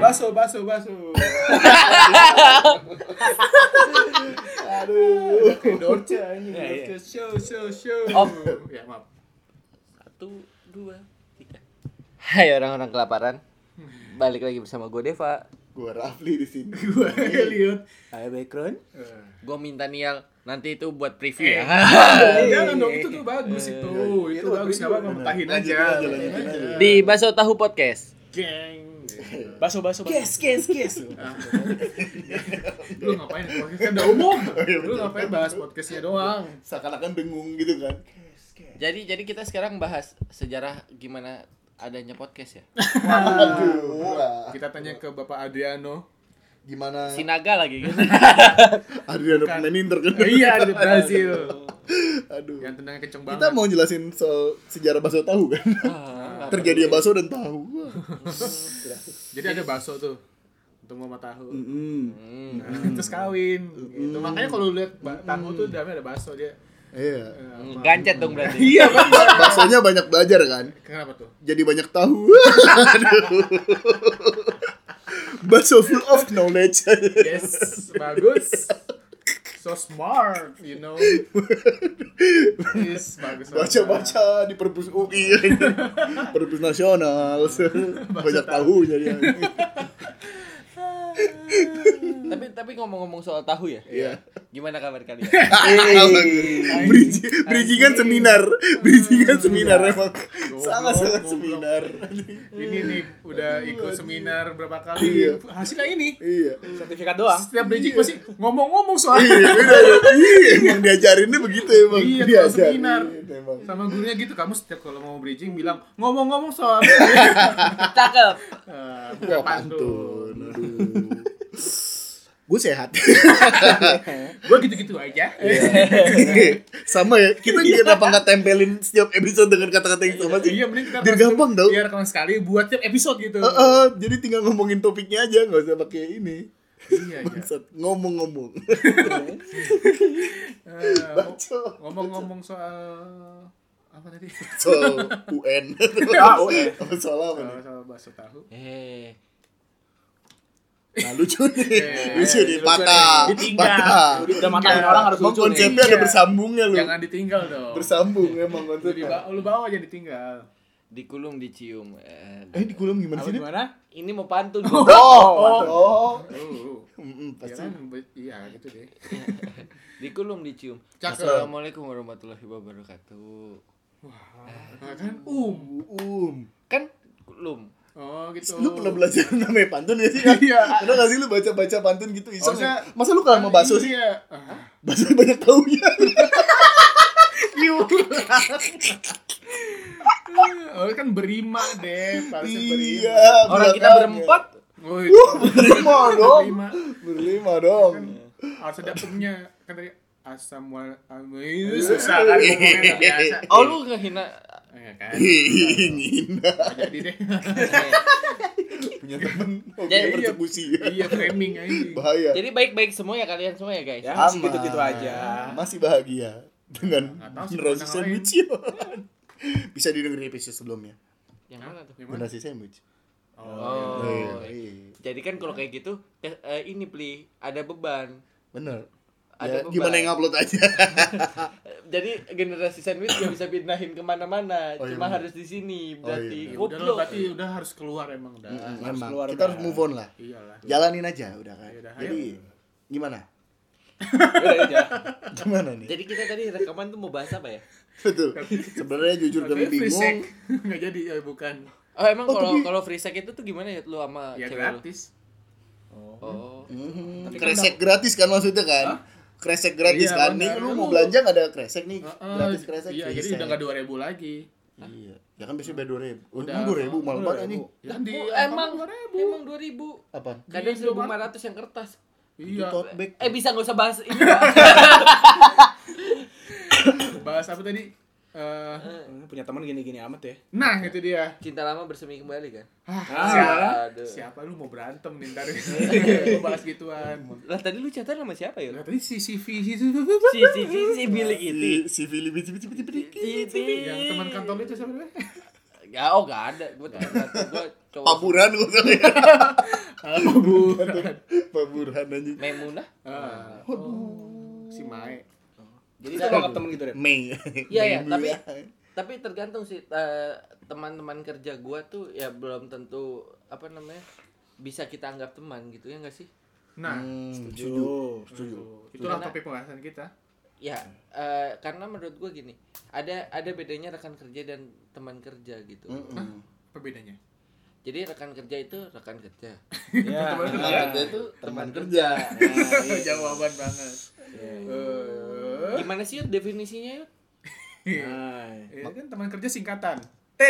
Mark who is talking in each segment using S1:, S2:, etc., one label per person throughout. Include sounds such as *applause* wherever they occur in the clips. S1: baso, baso. Aduh, kayak Dorce anjing.
S2: Iya, iya.
S1: Dorce, Show, show, show.
S2: Off.
S1: Ya, maaf.
S2: Satu, dua, tiga.
S3: Hai orang-orang kelaparan. Balik lagi bersama gue Deva.
S4: Gua Rafli di sini.
S1: Gua lihat.
S2: Hai background.
S1: Eh,
S3: Gue minta Nial nanti itu buat preview ya.
S1: Jangan dong, itu tuh bagus itu. Itu bagus, gak apa-apa, mentahin aja.
S4: Lanjutin aja, lanjutin aja.
S3: Di Baso Tahu Podcast.
S1: Geng.
S2: Baso, baso, baso.
S1: Kes, kes, kes. Lu ngapain? Podcast kan udah umum. Lu ngapain bahas podcastnya doang?
S4: Seakan-akan dengung gitu kan.
S3: Jadi jadi kita sekarang bahas sejarah gimana adanya *laughs* podcast ya.
S4: Aduh. ah.
S1: Kita tanya ke Bapak Adriano.
S4: Gimana?
S3: Sinaga lagi gitu.
S4: Adriano
S1: Bukan.
S4: pemain Inter kan?
S1: Iya, di Brazil.
S4: Aduh.
S1: Yang tendangnya kenceng banget.
S4: Kita mau jelasin soal sejarah bakso tahu kan?
S3: Ah.
S4: Terjadinya bakso dan tahu. Wah.
S1: Jadi ada bakso tuh untuk mama tahu.
S4: Mm-mm.
S3: Hmm.
S1: Nah, Terus kawin. Gitu. Makanya kalau lu lihat ba- tahu tuh dalamnya ada bakso dia.
S4: Iya.
S1: Eh,
S3: Gancet dong berarti.
S1: Iya, Bang.
S4: Baksonya banyak belajar kan?
S1: Kenapa tuh?
S4: Jadi banyak tahu. Aduh. Bakso full of knowledge.
S1: Yes, bagus. So smart, you know. Yes, bagus.
S4: Baca-baca di perpus UI. perpus nasional. banyak tahunya dia.
S3: tapi tapi ngomong-ngomong soal tahu ya.
S4: Iya.
S3: Gimana kabar *laughs* kalian?
S4: Bridging, bridgingan seminar, bridgingan seminar emang sangat sangat
S1: goblok.
S4: seminar.
S1: Ini nih udah ikut seminar berapa
S4: Iya.
S1: kali. Hasilnya ini.
S4: Iya.
S2: Sertifikat doang.
S1: Setiap bridging pasti ngomong-ngomong soalnya.
S4: Iya, beda ya. Iya, emang diajarinnya begitu emang.
S1: Iya, kalau
S4: Diajarin,
S1: seminar.
S4: iya, emang.
S1: Sama gurunya gitu, kamu setiap kalau mau bridging bilang ngomong-ngomong soal
S3: Cakep.
S1: Eh, buka
S4: Wah, pantun. Aduh.
S1: *laughs*
S4: Gue sehat.
S1: Gue gitu-gitu aja.
S4: *laughs* Iya. sama ya. Kita kenapa nggak tempelin setiap episode dengan kata-kata yang sama sih?
S1: Iya, mending kita
S4: Biar gampang tau.
S1: biar rekaman sekali buat tiap episode gitu.
S4: Eh, eh, jadi tinggal ngomongin topiknya aja, nggak usah pakai ini.
S1: Iya,
S4: *laughs*
S1: iya.
S4: Bangsat, ngomong-ngomong. *laughs*
S1: Eh,
S4: Baca.
S1: Ngomong-ngomong soal apa tadi?
S4: soal UN
S1: *laughs* Ah,
S4: Apa soal apa nih?
S1: Soal soal bakso tahu.
S3: Eh,
S4: Nah, *laughs* lucu
S1: Eh,
S4: nih lucu nih
S2: lucu
S4: patah
S2: nih. Ditinggal.
S4: patah
S2: Udah matahin orang harus
S4: Emang
S2: lucu nih.
S4: konsepnya ada
S1: Iya.
S4: bersambungnya lu
S1: Jangan ditinggal dong.
S4: bersambung emang
S1: Lu diba-
S4: konsepnya
S1: lu bawa aja ditinggal.
S3: dikulum dicium. Eh,
S4: eh dikulum gimana
S1: Apa
S4: sih Dit?
S1: gimana?
S3: ini mau pantun. *laughs*
S4: oh oh
S1: Oh, ya
S4: Mm-mm, pasti
S1: kan? Be- Iya, gitu deh.
S3: Dikulum dicium.
S1: Cakep.
S3: Assalamualaikum warahmatullahi wabarakatuh.
S1: Nah, kan um.
S4: um
S3: Kan kulum.
S1: Oh, gitu.
S4: lu pernah belajar namanya pantun gak sih
S1: Iya.
S4: pernah gak sih lu baca baca pantun gitu iseng
S1: Harusnya-
S4: masa lu kalah sama bakso sih
S1: Iya. Ah.
S4: bakso banyak taunya
S1: Oh, kan berima deh, harusnya berima.
S4: iya
S3: Orang kita
S4: belakangnya.
S3: berempat
S1: Oh,
S4: Wuh, berlima dong
S1: berima.
S4: berlima dong
S1: Iya. harus ada umnya kan tadi asam wal
S2: Iya.
S1: itu susah kan ngomongnya biasa
S3: Oh lu ngehina
S1: ya kan
S4: ingin
S1: Nggak jadi deh
S3: Eh,
S4: punya temen oke
S3: Jadi, iya.
S4: persekusi
S1: iya framing aja
S4: bahaya
S3: Jadi baik-baik semua ya kalian semua ya guys
S2: Ya,
S4: Aman.
S2: masih gitu-gitu aja.
S4: masih bahagia dengan
S1: Nggak tahu sih
S4: generasi
S1: tentang
S4: sandwich *laughs* bisa didengerin episode sebelumnya
S3: Yang mana tuh?
S1: Gimana?
S4: generasi sandwich
S3: Oh,
S4: iya.
S3: Jadi kan kalau kayak gitu eh, eh, ini pli ada beban.
S4: bener
S3: Ada
S4: Ya,
S3: beban.
S4: gimana yang upload aja
S3: Eh, Jadi generasi sandwich gak bisa pindahin kemana-mana,
S4: Oh, iya,
S3: cuma
S4: bener.
S3: harus di sini berarti.
S1: Ya
S3: Oh,
S1: udah lo
S3: *laughs*
S1: berarti udah harus keluar emang udah
S4: Iya. Memang,
S2: keluar
S4: kita harus
S2: udah.
S4: move on lah
S1: iyalah
S4: jalanin aja udah kan
S1: Ya udah,
S4: jadi gimana gimana nih
S3: Jadi kita tadi rekaman tuh mau bahas apa ya?
S4: betul sebenarnya jujur kami
S1: tapi free
S4: bingung
S1: sex *laughs* nggak jadi ya bukan
S3: Oh emang
S4: Oh,
S3: kalau
S4: tapi-
S3: kalau free sex itu tuh gimana ya lu sama
S1: ya
S3: cewek lu?
S1: gratis
S3: Oh.
S4: Mhm,
S2: Tapi kan
S4: kresek gratis kan maksudnya kan kresek gratis
S1: Iya,
S4: kan nih
S1: benar.
S4: lu mau belanja nggak ada kresek nih
S1: Heeh,
S4: gratis kresek
S1: iya
S4: free
S1: jadi udah
S4: sex.
S1: nggak dua ribu lagi
S4: Iya. Ya kan biasanya bayar dua ribu.
S1: Udah.
S4: Udah dua ribu mahal banget anjing.
S1: ya di
S3: Oh, emang
S1: emang
S3: emang 2000.
S4: Apa?
S3: Kadang
S1: Di Indomaret.
S3: 1500 yang kertas.
S4: Itu
S1: iya
S4: tote bag.
S3: Eh bisa nggak usah bahas ini. Pak.
S1: bahas apa tadi Eh,
S2: Hmm, Punya teman gini-gini amat ya.
S1: nah itu dia
S3: *laughs* Cinta lama bersemi kembali kan?
S1: siapa
S4: Ah.
S3: Aduh.
S1: siapa lu mau berantem nih ntar Lu bahas gituan
S3: Lah tadi lu chatan sama siapa ya?
S1: Nah, tadi si CV itu
S3: Si si si si milik ini.
S4: Si si Fili bici bici bici bici.
S1: yang teman kantor lu itu siapa namanya?
S3: Ya oh gak ada. Gue teman kantor gue cowok.
S4: Paburan gua sama ya.
S1: Pak Burhan.
S4: Pak Burhan anjing.
S3: Memunah.
S1: Ah, si Mae.
S3: Jadi
S2: Bisa
S3: kalau
S2: nggak ketemu gitu deh.
S4: Mei.
S3: Iya, iya,
S4: Mei
S3: tapi-
S4: Bulan.
S3: tapi tergantung sih eh, teman-teman kerja gua tuh ya belum tentu apa namanya bisa kita anggap teman gitu ya enggak sih?
S1: Nah,
S2: Setuju.
S4: Hmm, Setuju.
S1: itulah
S3: Karena-
S1: topik pembahasan kita.
S3: Ya, eh, karena menurut gua gini, ada ada bedanya rekan kerja dan teman kerja gitu.
S4: Mm-mm.
S1: Apa bedanya?
S3: Jadi rekan kerja itu rekan kerja.
S2: Ya.
S3: Teman
S2: Iya.
S3: kerja itu teman kerja.
S1: Jawaban banget.
S2: Iya, iya.
S1: Eh,
S3: Gimana sih Yud, definisinya? Yud?
S2: Nah,
S1: *laughs* eh, kan teman kerja singkatan. T.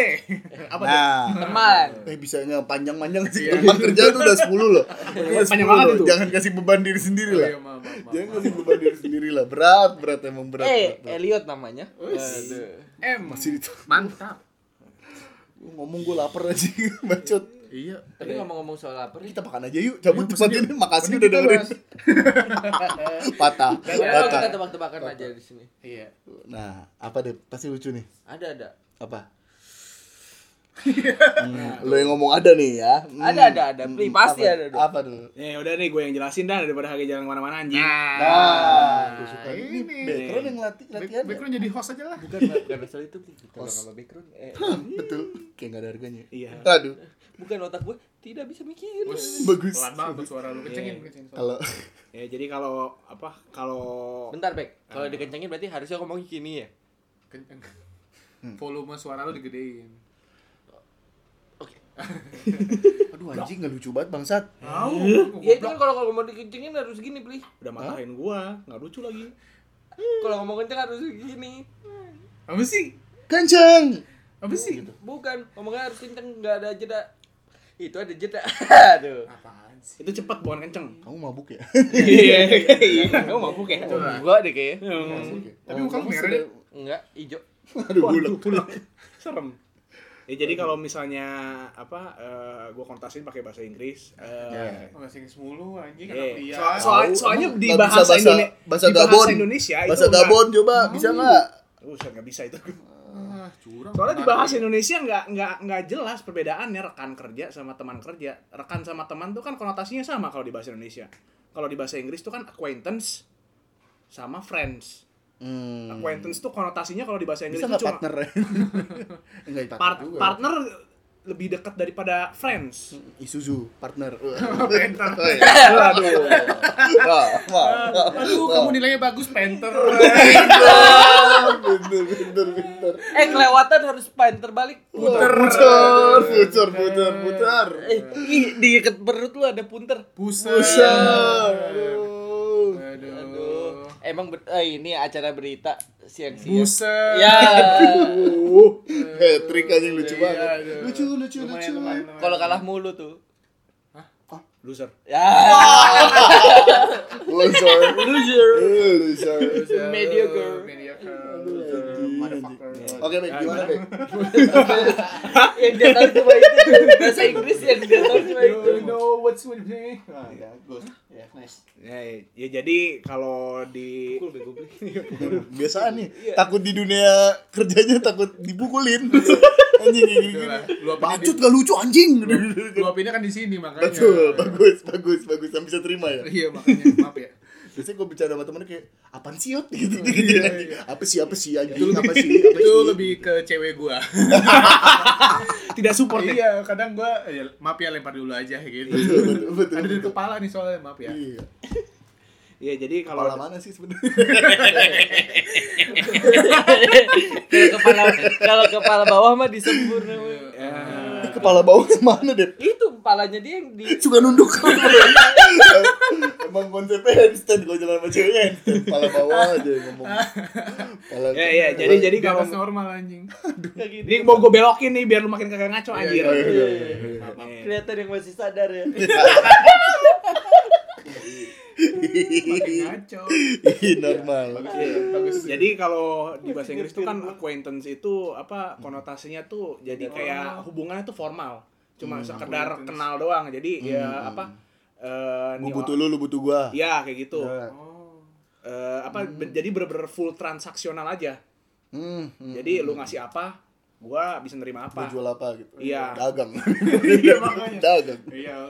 S1: Apa tuh?
S4: Nah,
S3: Teman.
S4: eh bisa nggak panjang-panjang sih
S1: Iya.
S4: teman kerja itu udah 10 loh. Udah 10
S2: Panjang banget
S4: loh.
S2: itu.
S4: Jangan kasih beban diri sendiri
S1: Oh,
S4: lah.
S1: *laughs* iya, maaf, maaf, maaf,
S4: Jangan
S1: maaf.
S4: kasih beban diri sendiri lah. Berat, berat emang berat.
S3: Eh,
S4: berat, berat.
S3: Elliot namanya. Eh,
S1: Uish.
S3: Waduh.
S1: M.
S4: Masih itu.
S1: Mantap.
S4: Ngomong gue lapar aja, *laughs* bacot.
S1: Iya.
S3: Tapi ngomong-ngomong soal lapar,
S4: Kita makan aja yuk, cabut
S1: Iya,
S4: cepat
S1: mending-
S4: ini. Makasih
S1: mending
S4: udah
S1: kita
S4: dengerin.
S1: bahas.
S4: Patah,
S3: Kenapa kita
S4: patah.
S3: tebak-tebakan aja di sini?
S1: Iya.
S4: Nah, apa deh? Pasti lucu nih.
S3: Ada ada.
S2: *laughs*
S4: Apa? Hmm, lo yang ngomong ada nih ya. Hmm,
S3: Ada, ada, ada.
S4: hmm,
S3: Please, pasti
S4: apa-
S3: ada dong.
S4: Apa dulu?
S2: ya udah nih gue yang jelasin dah daripada harga jalan kemana-mana anjing. Ah,
S4: Nah, gue suka ini.
S1: ini.
S4: Background yang latih latihan. ya?
S1: Back- Background jadi host aja lah.
S3: Bukan bukan masalah itu kita
S4: Os.
S3: sama background. Eh,
S4: Betul. Kayak nggak ada harganya.
S2: Iya.
S4: Aduh,
S3: bukan otak gue tidak bisa mikir.
S4: bagus.
S1: Pelan banget suara lu. Kencengin,
S2: Iya.
S1: kencengin. suara.
S4: Kalau
S2: Ya jadi kalau apa kalau
S3: Bentar, Bek. Kalau
S4: Ah.
S3: dikencengin berarti harusnya ngomong gini ya.
S1: Kenceng. Volume suara lu digedein.
S3: Oke.
S4: aduh anjing nggak lucu banget bangsat.
S1: Tahu.
S4: Oh,
S2: Iya,
S3: Ya itu kan kalau kalau mau dikencengin harus gini, Pli.
S2: udah matahin gua, nggak lucu lagi.
S3: Kalau ngomong kenceng harus gini.
S2: iya.
S1: Apa sih?
S4: Kenceng.
S1: Apa sih?
S3: Gitu. Bukan, ngomongnya harus kenceng, enggak ada jeda. Itu ada jeda. *laughs* Aduh.
S1: Apaan sih?
S2: Itu cepet bukan kenceng.
S4: Kamu mabuk ya?
S2: Iya. Iya, kamu mabuk ya.
S4: Ah.
S3: Enggak deh kayaknya.
S4: Iya.
S2: Hmm,
S1: Tapi muka lu merah deh.
S3: Enggak, ijo.
S4: *laughs* Aduh, bulek.
S2: Waduh, pulak. Serem. Ya jadi kalau misalnya apa eh, gua kontasin pakai bahasa Inggris eh,
S4: Ya.
S1: Masih nges mulu anjing ya?
S2: Iya.
S1: anak dia.
S2: Soal-
S4: Iya.
S2: soal-
S4: Tahu,
S2: soalnya
S4: emang
S2: di
S4: nggak bisa
S2: bahasa,
S4: bahasa-
S2: Indone-
S4: bahasa
S2: di bahasa
S4: Gabon.
S2: Indonesia itu
S4: Bahasa
S2: nggak-
S4: Gabon coba bisa nggak?
S2: Usah nggak bisa itu.
S1: Ah, curang.
S2: Soalnya di bahasa Indonesia nggak nggak nggak jelas perbedaannya rekan kerja sama teman kerja. Rekan sama teman tuh kan konotasinya sama kalau di bahasa Indonesia. Kalau di bahasa Inggris tuh kan acquaintance sama friends.
S4: Hmm.
S2: Acquaintance tuh konotasinya kalau di bahasa Inggris
S4: Bisa
S2: itu
S4: nggak
S2: cuma *laughs*
S4: partner? Enggak partner.
S2: part-
S4: juga. Hmm.
S2: partner lebih dekat daripada friends.
S4: Isuzu partner.
S1: Penter.
S4: Oh, iya.
S2: Aduh.
S4: Wah, wah, wah.
S1: Aduh, kamu nilainya bagus, Penter.
S4: Bener, bener, bener.
S3: Eh, kelewatan harus pan terbalik.
S4: Putar, putar, putar, putar, putar.
S3: Eh, ih, di deket perut lu ada punter.
S1: Pusat.
S4: Pusar. Aduh.
S1: Aduh.
S3: Aduh. Emang ber- eh, ini acara berita siang-siang.
S1: Buset.
S3: Ya.
S4: Eh, trik aja yang lucu
S1: Iya,
S4: banget.
S1: aduh.
S4: Lucu, lucu, lucu.
S1: Lumayan, lumayan, lumayan.
S3: Kalau kalah mulu tuh.
S2: Loser.
S3: Ya.
S4: Loser.
S3: Loser.
S4: Oh, Eh, Loser.
S3: Mediocre.
S1: Mediocre.
S4: Anjing,
S1: Motherfucker.
S4: anjing. Oke, baik. Gimana, baik?
S3: yang dia tahu cuma itu tuh. bahasa Inggris yang dia tahu cuma itu.
S1: You know what's with me? Ah, ya, good. Ya, nice.
S2: Ya, ya jadi kalau di
S4: Biasaan nih. Takut di dunia kerjanya takut dipukulin. Anjing kayak gini-gini.
S1: Itulah. Luapinnya di-
S4: Bacut gak lucu anjing.
S1: Luapinnya kan di sini makanya.
S4: *laughs* Betul, bagus, bagus, bagus. Yang bisa terima ya.
S1: Iya, makanya. Maaf ya.
S4: Biasanya gue bicara sama temennya kayak, apaan sih yot? Gitu, gitu,
S1: iya,
S4: anjing.
S1: iya.
S4: Apa sih, apa sih,
S1: Itu
S4: anjing,
S1: lebih-
S4: apa sih, apa
S1: Itu
S4: sih.
S1: lebih ke cewek gua.
S2: tidak support ya.
S1: Iya, kadang gua ya, maaf ya lempar dulu aja gitu.
S4: Betul, betul, betul,
S1: Ada di
S4: betul.
S1: kepala nih soalnya, maaf ya.
S4: Iya.
S2: Iya, jadi kalau
S4: Kepala mana sih sebenarnya?
S3: Kalau kepala kalau kepala bawah mah disembur
S1: Iya.
S3: namanya.
S2: Ya.
S4: Kepala bawah mana deh?
S3: Itu kepalanya dia yang di
S4: Suka nunduk. *laughs* Emang konsepnya handstand kalau jalan sama ceweknya handstand. Kepala bawah aja yang ngomong. Kepala
S2: Ya, ya, jadi jadi
S1: Di
S2: kalau
S1: atas normal anjing.
S3: kaki
S2: ini mau gue belokin nih biar lu makin kagak ngaco anjir.
S4: Oh, iya, iya, iya.
S2: Eh,
S3: kelihatan yang masih sadar ya.
S1: Makin ngaco.
S4: Ih, Iya, Normal.
S1: Iya. Bagus.
S2: Iya,
S1: iya.
S2: Jadi kalau di bahasa Inggris itu kan acquaintance itu apa konotasinya tuh jadi kayak hubungannya tuh formal. Cuma sekedar
S1: Acquaintance.
S2: kenal doang. Jadi ya apa eh
S4: Gue
S2: nih
S4: butuh lu,
S2: orang-
S4: lu butuh gua.
S2: Iya, kayak gitu.
S4: Ya.
S1: Oh.
S2: Eh, apa be- jadi bener-bener full transaksional aja.
S4: Hmm, hmm.
S2: Jadi lu ngasih apa, gua bisa nerima
S4: Mau
S2: apa
S4: jual apa gitu.
S2: Iya.
S4: Dagang.
S1: Iya, makanya.
S4: Dagang.
S1: Iya,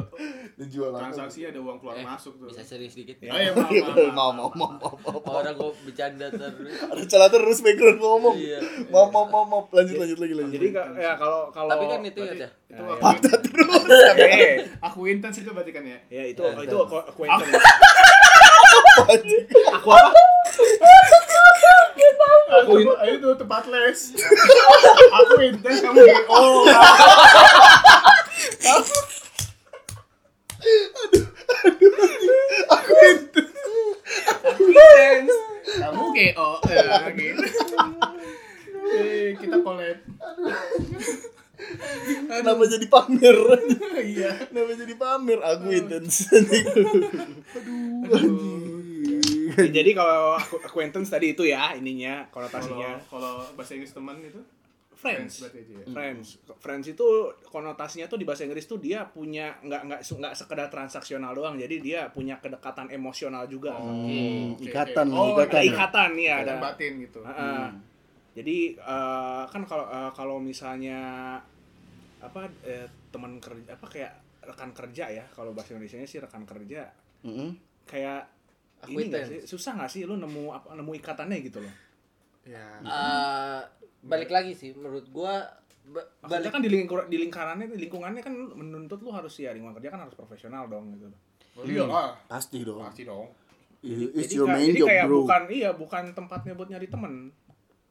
S4: Dan jual apa. *laughs*
S1: transaksi ada uang keluar
S3: Eh,
S1: masuk tuh.
S3: Bisa serius dikit.
S2: Ya.
S1: Oh, iya,
S4: Iya,
S1: maaf, maaf,
S4: mau, mau, mau, mau, mau.
S3: Orang gua bercanda terus.
S4: Ada celah terus background ngomong.
S3: Iya.
S4: Mau, mau, mau, mau. Lanjut, lanjut lagi, lanjut.
S2: jadi ka- ya kalau kalau
S3: Tapi kan itu ya.
S1: Itu
S2: Ya,
S1: aku,
S4: Patah terus.
S2: Eh,
S1: aku intens itu berarti kan ya.
S2: ya itu
S4: Ya,
S2: itu
S4: udah.
S2: aku
S4: *laughs*
S2: acquaintance
S4: Anjing.
S2: aku apa
S1: Aku itu tempat les. aku intens kamu di oh.
S3: Intens.
S1: Kamu GO eh, gitu. Eh, kita collab.
S4: Kenapa jadi pamer? *laughs*
S1: Iya.
S4: Kenapa jadi pamer? Aku intens. Anjing.
S2: Ya, jadi kalau aku- acquaintance tadi itu ya ininya
S1: Kalau
S2: konotasinya
S1: kalau bahasa Inggris teman itu
S2: friends
S1: berarti itu ya.
S2: friends friends itu konotasinya tuh di bahasa Inggris tuh dia punya nggak nggak su- nggak sekedar transaksional doang jadi dia punya kedekatan emosional juga
S4: Hmm,
S1: Oke,
S4: Ikatan,
S1: oke. Oh,
S2: ada
S4: ikatan. Ah.
S2: ikatan ya
S1: Ada
S2: ada
S1: Oh. batin gitu.
S2: Heeh. Jadi eh, kan kalau eh, kalau misalnya apa eh, teman kerja apa kayak rekan kerja ya kalau bahasa Indonesia sih rekan kerja
S4: Mm-mm.
S2: kayak ini nggak sih susah nggak sih lu nemu apa nemu ikatannya gitu loh.
S1: Ya.
S3: Eh, balik lagi sih menurut gua ba-
S2: Maksudnya
S3: balik
S2: kan di, lingkur, di lingkarannya di lingkungannya kan menuntut lu harus ya lingkungan kerja kan harus profesional dong gitu.
S1: Oh, Iya lah.
S4: Pasti dong.
S1: Pasti dong.
S4: It's
S2: jadi
S4: your
S2: nggak-
S4: main
S2: jadi
S4: job,
S2: kayak
S4: bro.
S2: bukan iya bukan tempatnya buat nyari temen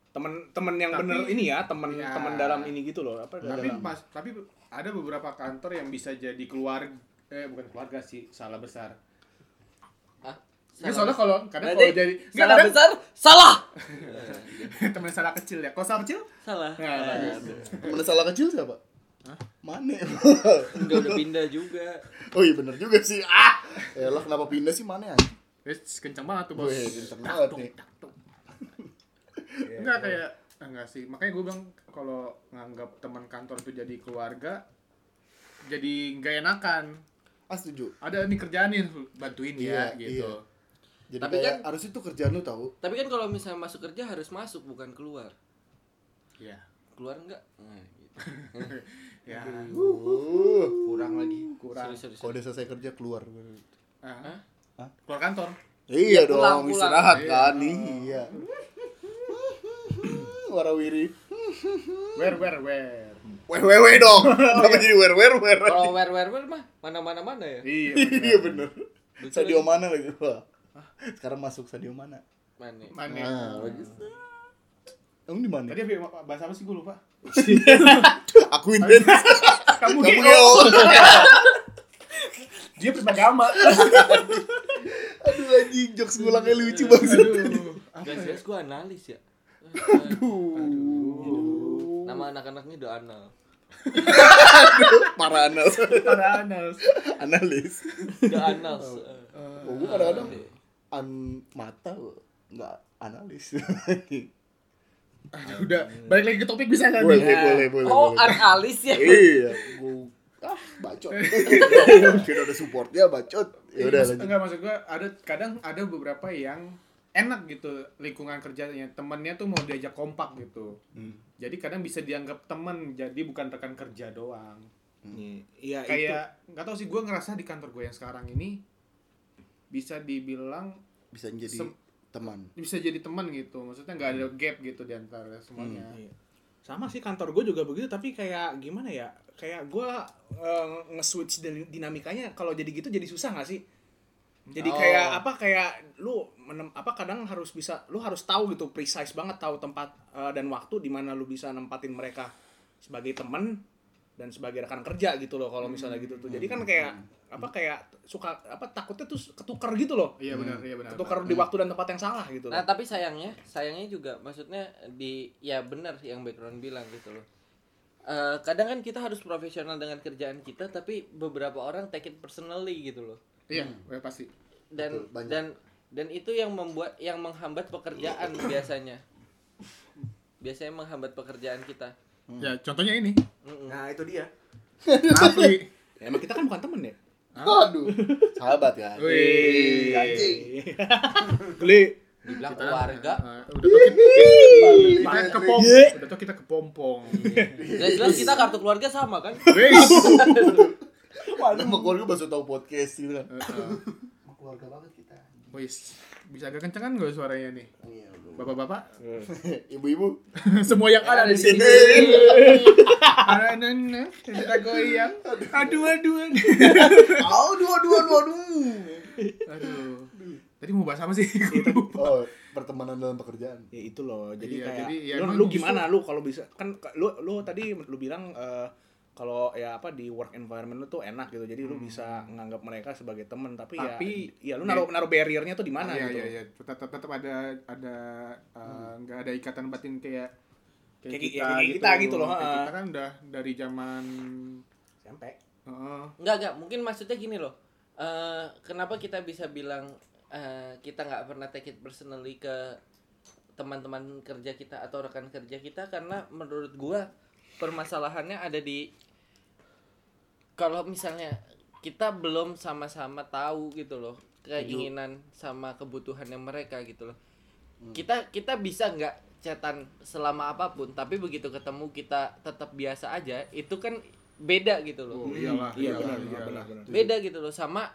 S2: temen temen yang
S1: Tapi-
S2: bener ini ya temen
S1: Iya.
S2: temen dalam ini gitu loh apa
S1: tapi
S2: dalam
S1: mas tapi ada beberapa kantor yang bisa jadi keluarga eh bukan keluarga sih salah besar
S3: Ah,
S1: Nggak, Iya,
S3: salah
S1: soalnya
S3: besar.
S1: kalau kadang
S3: Berarti
S1: kalau jadi nggak
S3: salah
S1: kadang
S3: besar salah
S1: *laughs* temen salah kecil ya kalau salah kecil
S3: salah
S1: Nggak,
S3: *laughs* Eh,
S1: bagus.
S4: Temen salah kecil siapa? Mane. *laughs*
S3: enggak udah pindah juga
S4: oh iya bener juga sih. Ah. Elah kenapa pindah sih Mane anjing?
S1: Wis, kenceng banget tuh bos
S4: Wih, kenceng banget nih. Iya,
S1: enggak kayak ah, enggak sih makanya gue bilang kalau nganggap teman kantor itu jadi keluarga jadi nggak enakan
S4: Ah setuju.
S1: ada nih kerjaan nih bantuin dia
S4: Iya,
S1: gitu
S4: Jadi
S3: Tapi
S4: kayak harus itu kerjaan lu tahu.
S3: tapi kan kalau misalnya masuk kerja harus masuk bukan keluar
S1: iya
S3: keluar enggak nah, gitu.
S1: ya
S4: Uh.
S3: kurang lagi
S1: Kurang.
S3: Sorry, sorry,
S4: Kalau
S3: sorry.
S4: udah selesai kerja keluar.
S1: Ah.
S4: Hah?
S1: keluar kantor
S4: Iya dong,
S3: pulang, pulang.
S4: istirahat
S1: Iya.
S4: kan. Iya. Warawiri.
S1: where where where
S4: Wewewe dong.
S1: Oh,
S4: Kenapa jadi wer-wer-wer?
S3: kalau wer wer wer mah mana mana mana ya
S1: iya
S4: Iya
S1: bener.
S4: bener. Sadio mana lagi? Wah. Sekarang masuk Sadio mana?
S3: mana ya?
S1: Mana?
S4: Nah, bagus. Kamu di mana?
S1: Tadi apa ya, bahasa apa sih gue lupa?
S4: Aku intens.
S1: Kamu
S4: Kamu
S1: geo.
S4: geo.
S1: Dia beragama.
S4: Aduh anjing, jokes ngulangnya lucu banget.
S3: guys guys gua analis ya nama anak-anaknya udah anal
S4: Para anal.
S1: Paranas.
S4: analis.
S3: udah anal
S4: Oh, gue kadang-kadang an mata gua, nggak analis. *laughs*
S1: Udah, balik lagi ke topik bisa kan?
S4: boleh, boleh, boleh,
S3: oh
S4: boleh.
S3: analis
S4: *laughs*
S3: ya
S4: Iya, gue ah *laughs* bacot. Kita ada supportnya bacot. Ya udah lanjut.
S1: Enggak maksud gue ada kadang ada beberapa yang enak gitu lingkungan kerjanya temennya tuh mau diajak kompak gitu
S4: Hmm.
S1: jadi kadang bisa dianggap temen jadi bukan rekan kerja doang
S2: Iya Nah, itu
S1: kayak nggak tau sih gue ngerasa di kantor gue yang sekarang ini bisa dibilang
S4: Bisa jadi
S1: Sem-
S4: teman.
S1: bisa jadi teman gitu maksudnya nggak ada gap gitu di antara semuanya
S4: Hmm.
S2: Iya. sama sih kantor gue juga begitu tapi kayak gimana ya kayak gue nge-switch din- dinamikanya kalau jadi gitu jadi susah nggak sih jadi
S1: Oh.
S2: kayak apa kayak lu menem, apa kadang harus bisa lu harus tahu gitu precise banget tahu tempat eh, dan waktu di mana lu bisa nempatin mereka sebagai temen dan sebagai rekan kerja gitu loh kalau misalnya gitu tuh jadi kan kayak apa kayak suka apa takutnya tuh ketukar gitu loh
S1: iya benar iya benar
S2: ketukar di waktu dan tempat yang salah gitu loh.
S3: Nah tapi sayangnya, sayangnya juga maksudnya di ya benar yang background bilang gitu loh. Eh, kadang kan kita harus profesional dengan kerjaan kita, tapi beberapa orang take it personally gitu loh.
S1: Iya,
S2: Hmm.
S1: ya pasti.
S3: Dan
S4: Betul, banyak.
S3: dan dan itu yang membuat yang menghambat
S2: *coughs*
S3: pekerjaan biasanya. Biasanya menghambat pekerjaan kita.
S2: Hmm.
S1: Ya, contohnya ini.
S3: Mm-mm.
S2: nah itu dia
S1: Rafli.
S2: *laughs* ya, emang kita kan bukan temen ya
S4: Aduh, sahabat ya.
S1: Wih.
S4: Anjing.
S2: Geli.
S3: Dibilang keluarga.
S2: *laughs*
S1: Ah,
S2: Iya.
S1: Eh, udah tuh kita- kita- kita- kepom-
S4: Ye.
S1: udah tau kita kepompong.
S3: Jelas, jelas kita kartu keluarga sama kan?
S1: Wes.
S4: Nama keluarga baru tahu podcast gitu kan.
S1: Heeh.
S5: keluarga banget kita
S1: Wes. Bisa agak kenceng kan gak suaranya nih?
S5: oh, iya udah.
S1: Bapak-bapak,
S4: Ibu-ibu
S2: Hmm.
S1: semua yang ada di
S2: *laughs*
S1: sini. Ada nenek, kita goyang. Aduh, aduh, aduh.
S4: Aduh, dua dua dua aduh.
S1: Aduh. Tadi mau bahas apa sih?
S2: Iya,
S4: Oh, pertemanan dalam pekerjaan.
S2: ya itu loh jadi
S1: Iya,
S2: kayak
S1: jadi ya
S2: lu,
S1: emang
S2: lu
S1: justru-
S2: gimana lu kalau bisa kan ke- lu lu tadi lu bilang eh, kalau ya apa di work environment lu tuh enak gitu jadi lu bisa nganggap mereka sebagai temen tapi,
S1: Hmm. Tapi-
S2: ya ya lu naruh naruh barriernya tuh di mana
S1: Iya,
S2: gitu Hmm.
S1: iya, iya. Tetap tetap ada ada eh, nggak ada ikatan batin kayak
S2: Kayak ki- ya, kayak kita gitu loh,
S1: Kayak
S2: ha.
S1: kita kan udah dari zaman
S2: sampai
S1: heeh.
S3: Enggak, enggak. Mungkin maksudnya gini loh. Eh, kenapa kita bisa bilang eh, kita nggak pernah take it personally ke teman-teman kerja kita atau rekan kerja kita karena menurut gua permasalahannya ada di kalau misalnya kita belum sama-sama tahu gitu loh keinginan sama kebutuhannya mereka gitu loh kita kita bisa nggak cetan selama apapun tapi begitu ketemu kita tetap biasa aja itu kan beda gitu loh
S1: Oh, iyalah,
S2: iya
S1: iyalah,
S2: benar
S1: iyalah.
S2: benar benar
S3: beda gitu loh sama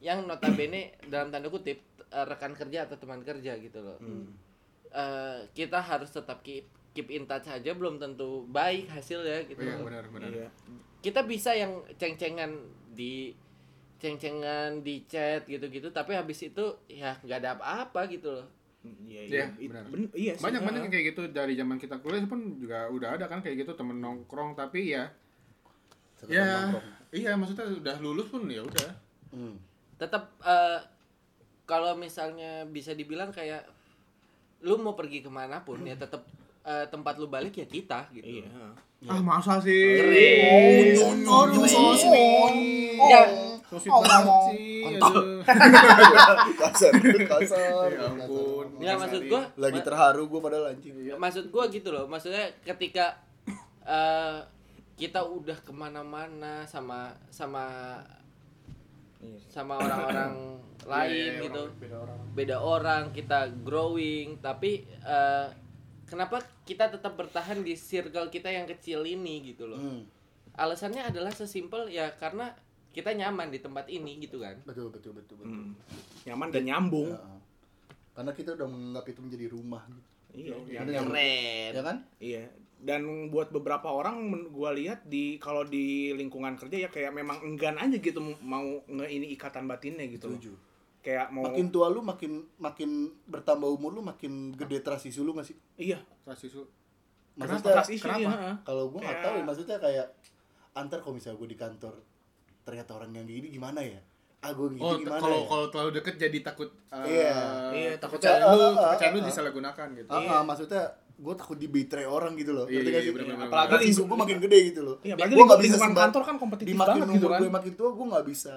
S3: yang notabene dalam tanda kutip eh, rekan kerja atau teman kerja gitu loh
S1: Hmm,
S2: Hmm,
S3: Eh, kita harus tetap keep keep in touch aja belum tentu baik hasilnya gitu
S1: Iya,
S3: loh.
S1: benar, benar.
S2: Iya.
S3: kita bisa yang ceng-cengan di ceng-cengan di chat gitu-gitu tapi habis itu ya nggak ada apa-apa gitu loh
S2: Iya,
S1: Iya,
S2: iya.
S1: benar.
S2: Ben- iya sih,
S1: banyak banyak
S2: ha.
S1: yang kayak gitu dari zaman kita kuliah pun juga udah ada kan kayak gitu temen nongkrong tapi ya
S4: Satu
S1: ya
S4: nongkrong.
S1: iya maksudnya udah lulus pun ya udah *laughs*
S4: Hmm.
S3: tetap eh, kalau misalnya bisa dibilang kayak lu mau pergi kemana pun ya tetap eh, tempat lu balik ya kita gitu
S2: Iya, ha.
S1: ah masa sih
S4: Oh,
S1: Aduh, sosmed.
S3: Ya,
S1: Sosmed banget sih aduh.
S4: Kasar, kasar.
S1: ya ampun Iya.
S3: ya maksud gua
S4: Lagi terharu gue padahal anjing.
S3: maksud gua gitu loh maksudnya ketika eh, kita udah kemana-mana sama sama
S2: Iya
S3: sama orang-orang lain
S1: Iya,
S3: gitu
S1: orang- beda orang.
S3: beda orang kita growing tapi eh, kenapa kita tetap bertahan di circle kita yang kecil ini gitu loh
S4: Hmm.
S3: alasannya adalah sesimpel ya karena kita nyaman di tempat ini gitu kan
S4: Betul, betul, betul, betul.
S2: Hmm. nyaman dan nyambung
S1: Iya.
S4: Heeh. Karena kita udah menganggap itu menjadi rumah.
S2: iya
S4: Iya.
S2: nyaman.
S3: keren
S4: Ya kan?
S2: Iya. Dan buat beberapa orang men- gua lihat di kalau di lingkungan kerja ya kayak memang enggan aja gitu mau nge ini ikatan batinnya gitu. loh.
S4: Setuju.
S2: Kayak mau
S4: Makin tua lu makin makin bertambah umur lu makin gede trust issue lu masih.
S2: iya,
S1: Trust issue.
S2: kenapa
S4: Maksudnya
S2: trust issue
S1: kenapa?
S2: iya, ha.
S4: kalau gue nggak
S2: Kayak-
S4: tahu ya, maksudnya kayak antar kalau misalnya gue di kantor ternyata orang yang gini gimana ya? Ah gue gini
S1: Oh, t-
S4: gimana
S1: kalau
S4: ya?
S1: kalau terlalu deket jadi takut eh,
S4: Iya.
S2: Iya, takut
S1: kepercayaan
S4: salah.
S1: lu,
S4: Ah, ah,
S1: kepercayaan lu
S4: ah.
S1: disalahgunakan gitu.
S4: Ah, ah, maksudnya gue takut di betray orang gitu loh.
S1: Iya,
S4: Ngerti
S1: iya,
S4: gak sih?
S1: bener, bener,
S4: Apalagi
S2: bener.
S4: gue makin gede gitu loh.
S2: Iya, apalagi
S4: gue nggak bisa
S2: lingkungan
S4: sembar-
S2: kantor kan kompetitif
S4: di makin
S2: banget gitu
S4: umur
S2: kan.
S4: gue makin tua gue nggak bisa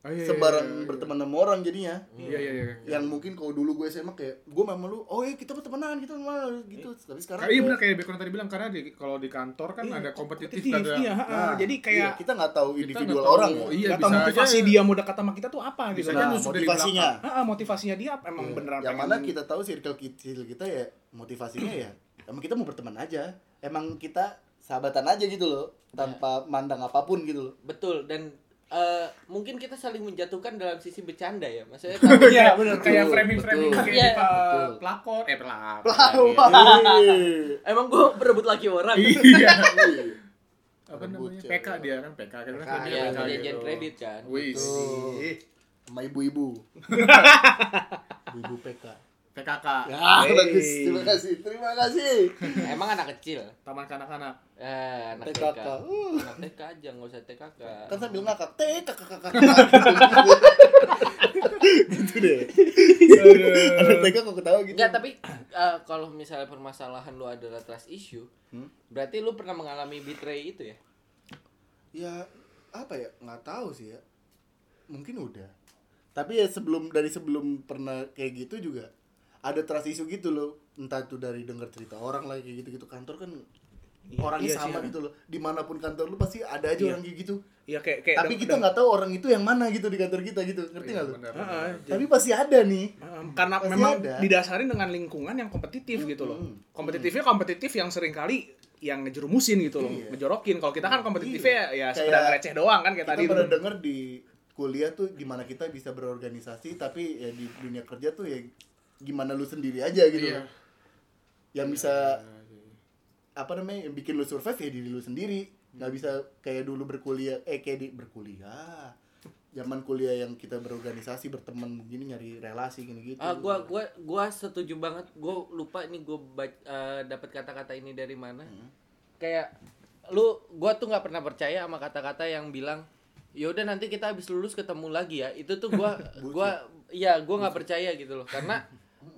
S1: Oh, iya, iya,
S4: sembarang
S1: iya, iya.
S4: berteman sama orang jadinya.
S1: Iya iya iya.
S4: Yang mungkin kalau dulu gue SMA kayak gue sama lu, oh iya kita temenan kita temenan gitu. Tapi
S1: Kayak-
S4: sekarang
S1: Iya
S4: kayak-
S1: benar kayak background tadi bilang karena di kalau di kantor kan ada kompetitif
S2: Iya, Kompetitif,
S1: ada
S2: iya, ha, ha.
S4: Nah,
S2: jadi kayak
S4: iya, kita nggak tahu
S1: Kita
S4: individual
S1: nggak tahu,
S4: orang ya.
S1: iya,
S2: nggak tahu
S1: bisa
S2: motivasi
S1: aja-
S2: dia mau dekat sama kita tuh apa gitu.
S1: Bisa aja
S2: Nah,
S4: Nah,
S1: nusuk dari
S4: motivasinya.
S2: ha, ha, motivasinya dia apa? emang beneran
S4: Iya. Yang
S2: pengen-
S4: mana kita tahu circle kecil kita ya motivasinya ya emang kita mau berteman aja. Emang kita sahabatan aja gitu loh tanpa mandang apapun gitu loh.
S3: betul dan eh, mungkin kita saling menjatuhkan dalam sisi bercanda ya maksudnya tapi
S2: Iya, bener
S1: kayak
S4: Betul,
S1: framing framing
S4: betul.
S1: kayak
S3: Iya.
S1: di, eh,
S4: Betul.
S1: pelakor eh pelakor.
S4: Iya.
S3: emang gue berebut laki orang
S1: Iya.
S4: *laughs*
S1: Apa
S4: Rebut
S1: namanya?
S4: cewek.
S1: PK dia kan PK kan
S5: PK,
S1: framingnya
S4: ya,
S3: Iya,
S1: PK
S3: perjanjian
S1: gitu.
S3: kredit kan.
S1: Wih.
S4: Betul.
S1: Ih,
S4: Sama ibu-ibu. Ibu PK.
S1: PKK.
S4: Ya,
S2: Hey.
S4: bagus. Terima kasih. Terima kasih.
S3: Emang anak kecil.
S1: Taman kanak-kanak.
S3: Eh, anak TK.
S4: TKK. Uh,
S3: Anak TK aja enggak usah TKK.
S4: Kan sambil ngakak. Tek, kakak, kakak, kakak. *laughs* Gitu deh. Anak TK kok ketawa gitu.
S3: Enggak, tapi eh, kalau misalnya permasalahan lu adalah trust issue,
S4: Hmm?
S3: berarti lu pernah mengalami betray itu ya?
S4: Ya, apa ya? Nggak tahu sih ya. Mungkin udah. Tapi ya sebelum dari sebelum pernah kayak gitu juga ada trust isu gitu loh entah itu dari denger cerita orang lagi kayak gitu-gitu kantor kan
S2: Iya,
S4: orangnya
S2: iya sih,
S4: sama
S2: iya.
S4: gitu loh dimanapun kantor lu pasti ada aja
S2: Iya.
S4: orang kayak gitu
S2: Iya kayak kayak Iya,
S4: tapi kita nggak tahu orang itu yang mana gitu di kantor kita gitu ngerti nggak lu
S1: benar.
S2: Heeh, jadi-
S4: tapi pasti ada nih
S2: Um, karena
S4: Pasti
S2: memang
S4: ada.
S2: didasari dengan lingkungan yang kompetitif gitu loh. Kompetitifnya kompetitif yang sering kali yang ngejerumusin gitu loh,
S4: Iya.
S2: ngejorokin. Kalau kita kan kompetitifnya
S4: Iya.
S2: ya sekedar
S4: Kayak
S2: receh doang kan kayak
S4: kita
S2: tadi.
S4: pernah denger di kuliah tuh gimana kita bisa berorganisasi tapi ya di dunia kerja tuh ya gimana lu sendiri aja gitu
S1: Iya.
S4: loh. yang bisa apa namanya yang bikin lu survive ya diri lu sendiri nggak bisa kayak dulu berkuliah eh kayak di berkuliah zaman kuliah yang kita berorganisasi berteman begini nyari relasi gini gitu
S3: Ah, gua gua gua setuju banget. Gua lupa nih gua ba- eh, dapat kata-kata ini dari mana. Kayak lu gua tuh nggak pernah percaya sama kata-kata yang bilang yaudah nanti kita habis lulus ketemu lagi ya. Itu tuh gua gua ya gua nggak percaya gitu loh. Karena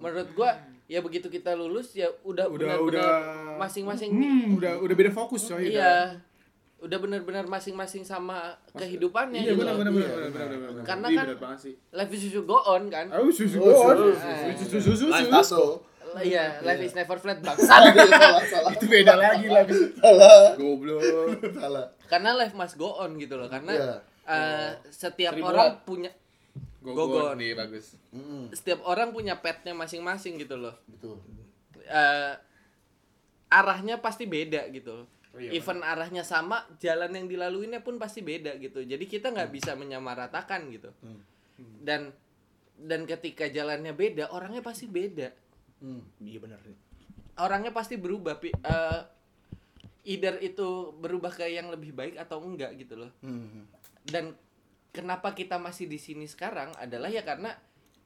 S3: menurut gua ya begitu kita lulus ya udah
S1: Udah
S3: benar-benar
S1: udah
S3: masing-masing
S1: Hmm, Oh, udah udah beda fokus coy. udah.
S3: iya. Udah benar-benar masing-masing sama kehidupannya
S1: Iya
S3: gitu
S1: benar
S3: loh.
S1: benar benar
S4: Iya,
S1: benar, benar benar, benar.
S3: Karena
S1: Iya,
S3: kan-
S1: benar banget sih.
S3: Life is to go on kan.
S1: Oh, susu
S4: Oh,
S1: gol.
S4: susu,
S1: Susu susu susu.
S2: Life
S1: susu.
S4: so
S3: Iya, life is never flat bang.
S4: salah salah
S1: Itu beda lagi lah.
S4: salah
S1: Goblok.
S4: salah
S3: karena life must go on gitu loh karena
S4: Iya.
S3: eh, setiap
S1: Seribu
S3: orang
S1: orang.
S3: punya
S1: Gogon nih bagus.
S4: Mm,
S3: setiap orang punya petnya masing-masing gitu loh
S4: betul
S3: Eh, arahnya pasti beda gitu
S1: Oh iya,
S3: even arahnya sama jalan yang dilaluinya pun pasti beda gitu jadi kita nggak bisa menyamaratakan gitu
S4: Hmm.
S3: dan dan ketika jalannya beda orangnya pasti beda
S4: Mm.
S2: Iya benar.
S3: orangnya pasti berubah pi- eh, either itu berubah ke yang lebih baik atau enggak gitu loh
S4: Mm.
S3: dan kenapa kita masih di sini sekarang adalah ya karena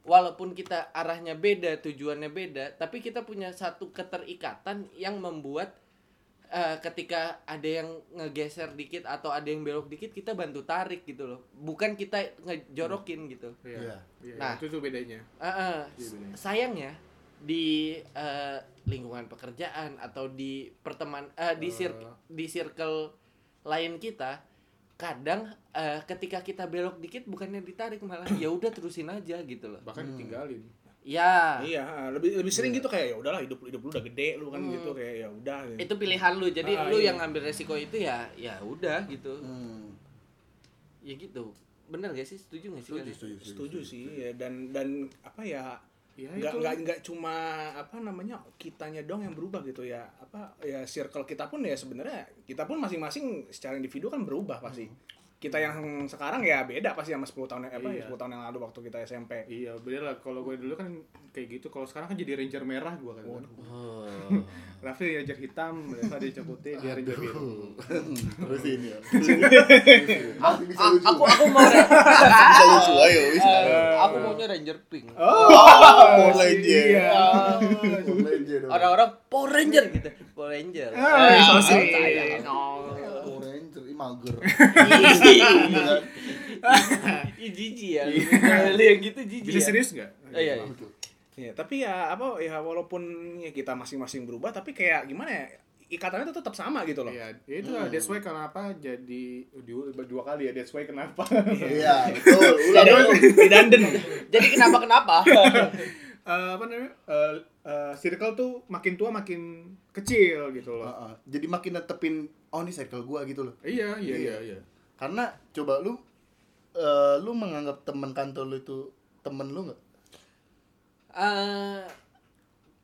S3: walaupun kita arahnya beda tujuannya beda tapi kita punya satu keterikatan yang membuat eh, ketika ada yang ngegeser dikit atau ada yang belok dikit kita bantu tarik gitu loh bukan kita ngejorokin gitu
S4: Iya.
S1: Iya,
S3: Nah.
S1: itu tuh bedanya.
S3: Eh, eh,
S1: Iya, bener.
S3: sayangnya di eh, lingkungan pekerjaan atau di perteman eh, di sir-
S1: Eh.
S3: di circle lain kita kadang eh, ketika kita belok dikit bukannya ditarik malah ya udah terusin aja gitu loh
S1: Bahkan ditinggalin.
S3: ya
S2: Iya, ah, lebih lebih sering gitu kayak ya udahlah hidup hidup lu udah gede lu kan gitu kayak ya udah gitu.
S3: itu pilihan lu jadi
S2: Ah,
S3: lu
S2: iya.
S3: yang ngambil resiko itu ya ya udah gitu
S4: Mm.
S3: ya gitu bener gak sih setuju gak sih
S4: Setuju,
S3: kalian?
S4: setuju, setuju.
S2: setuju sih ya, dan dan apa ya
S1: Iya,
S2: nggak
S1: itu.
S2: nggak nggak cuma apa namanya kitanya dong yang berubah gitu ya apa ya circle kita pun ya sebenarnya kita pun masing-masing secara individu kan berubah pasti
S1: Hmm.
S2: kita yang sekarang ya beda pasti sama 10 tahun yang apa ya,
S1: Iya.
S2: 10 tahun yang lalu waktu kita SMP
S1: Iya, bener lah. Kalau gue dulu kan kayak gitu. Kalau sekarang kan jadi ranger merah gue kan.
S3: Oh.
S1: Raffi ranger hitam, Reva dia putih, dia ranger biru.
S4: *laughs* terus ini *laughs* ya masih bisa lucu
S3: aku aku mau ra-
S4: bisa lucu ayo bisa
S3: eh, aku maunya ranger pink
S4: *laughs* oh legend *laughs*
S1: Iya.
S4: legend
S3: orang-orang Power Ranger gitu Power Ranger iya,
S1: Eh, so sweet.
S4: Oh, Ranger, ih *laughs* mager.
S3: Ih jijik ya lu Lu yang gitu jijik
S1: Bisa
S3: ya.
S1: serius nggak?
S3: Oh, iya, iya.
S4: Betul.
S2: ya tapi ya apa ya walaupun ya kita masing-masing berubah tapi kayak gimana ya ikatannya tuh tetap sama gitu loh
S1: Iya, ya itu lah. That's why kenapa jadi dua, dua kali ya. That's why kenapa.
S4: Iya, betul. Ulang
S2: Tidak-
S4: dong.
S2: Redundant.
S3: iya. Jadi kenapa *laughs* kenapa?
S1: *laughs* Eh, apa namanya? Eh, eh, circle tuh makin tua makin kecil gitu loh.
S4: Heeh. Ah, Jadi makin netepin oh ini circle gua gitu loh.
S1: Iya, iya, iya, iya.
S4: Karena coba lu eh, lu menganggap teman kantor lu itu temen lu nggak?
S3: Eh,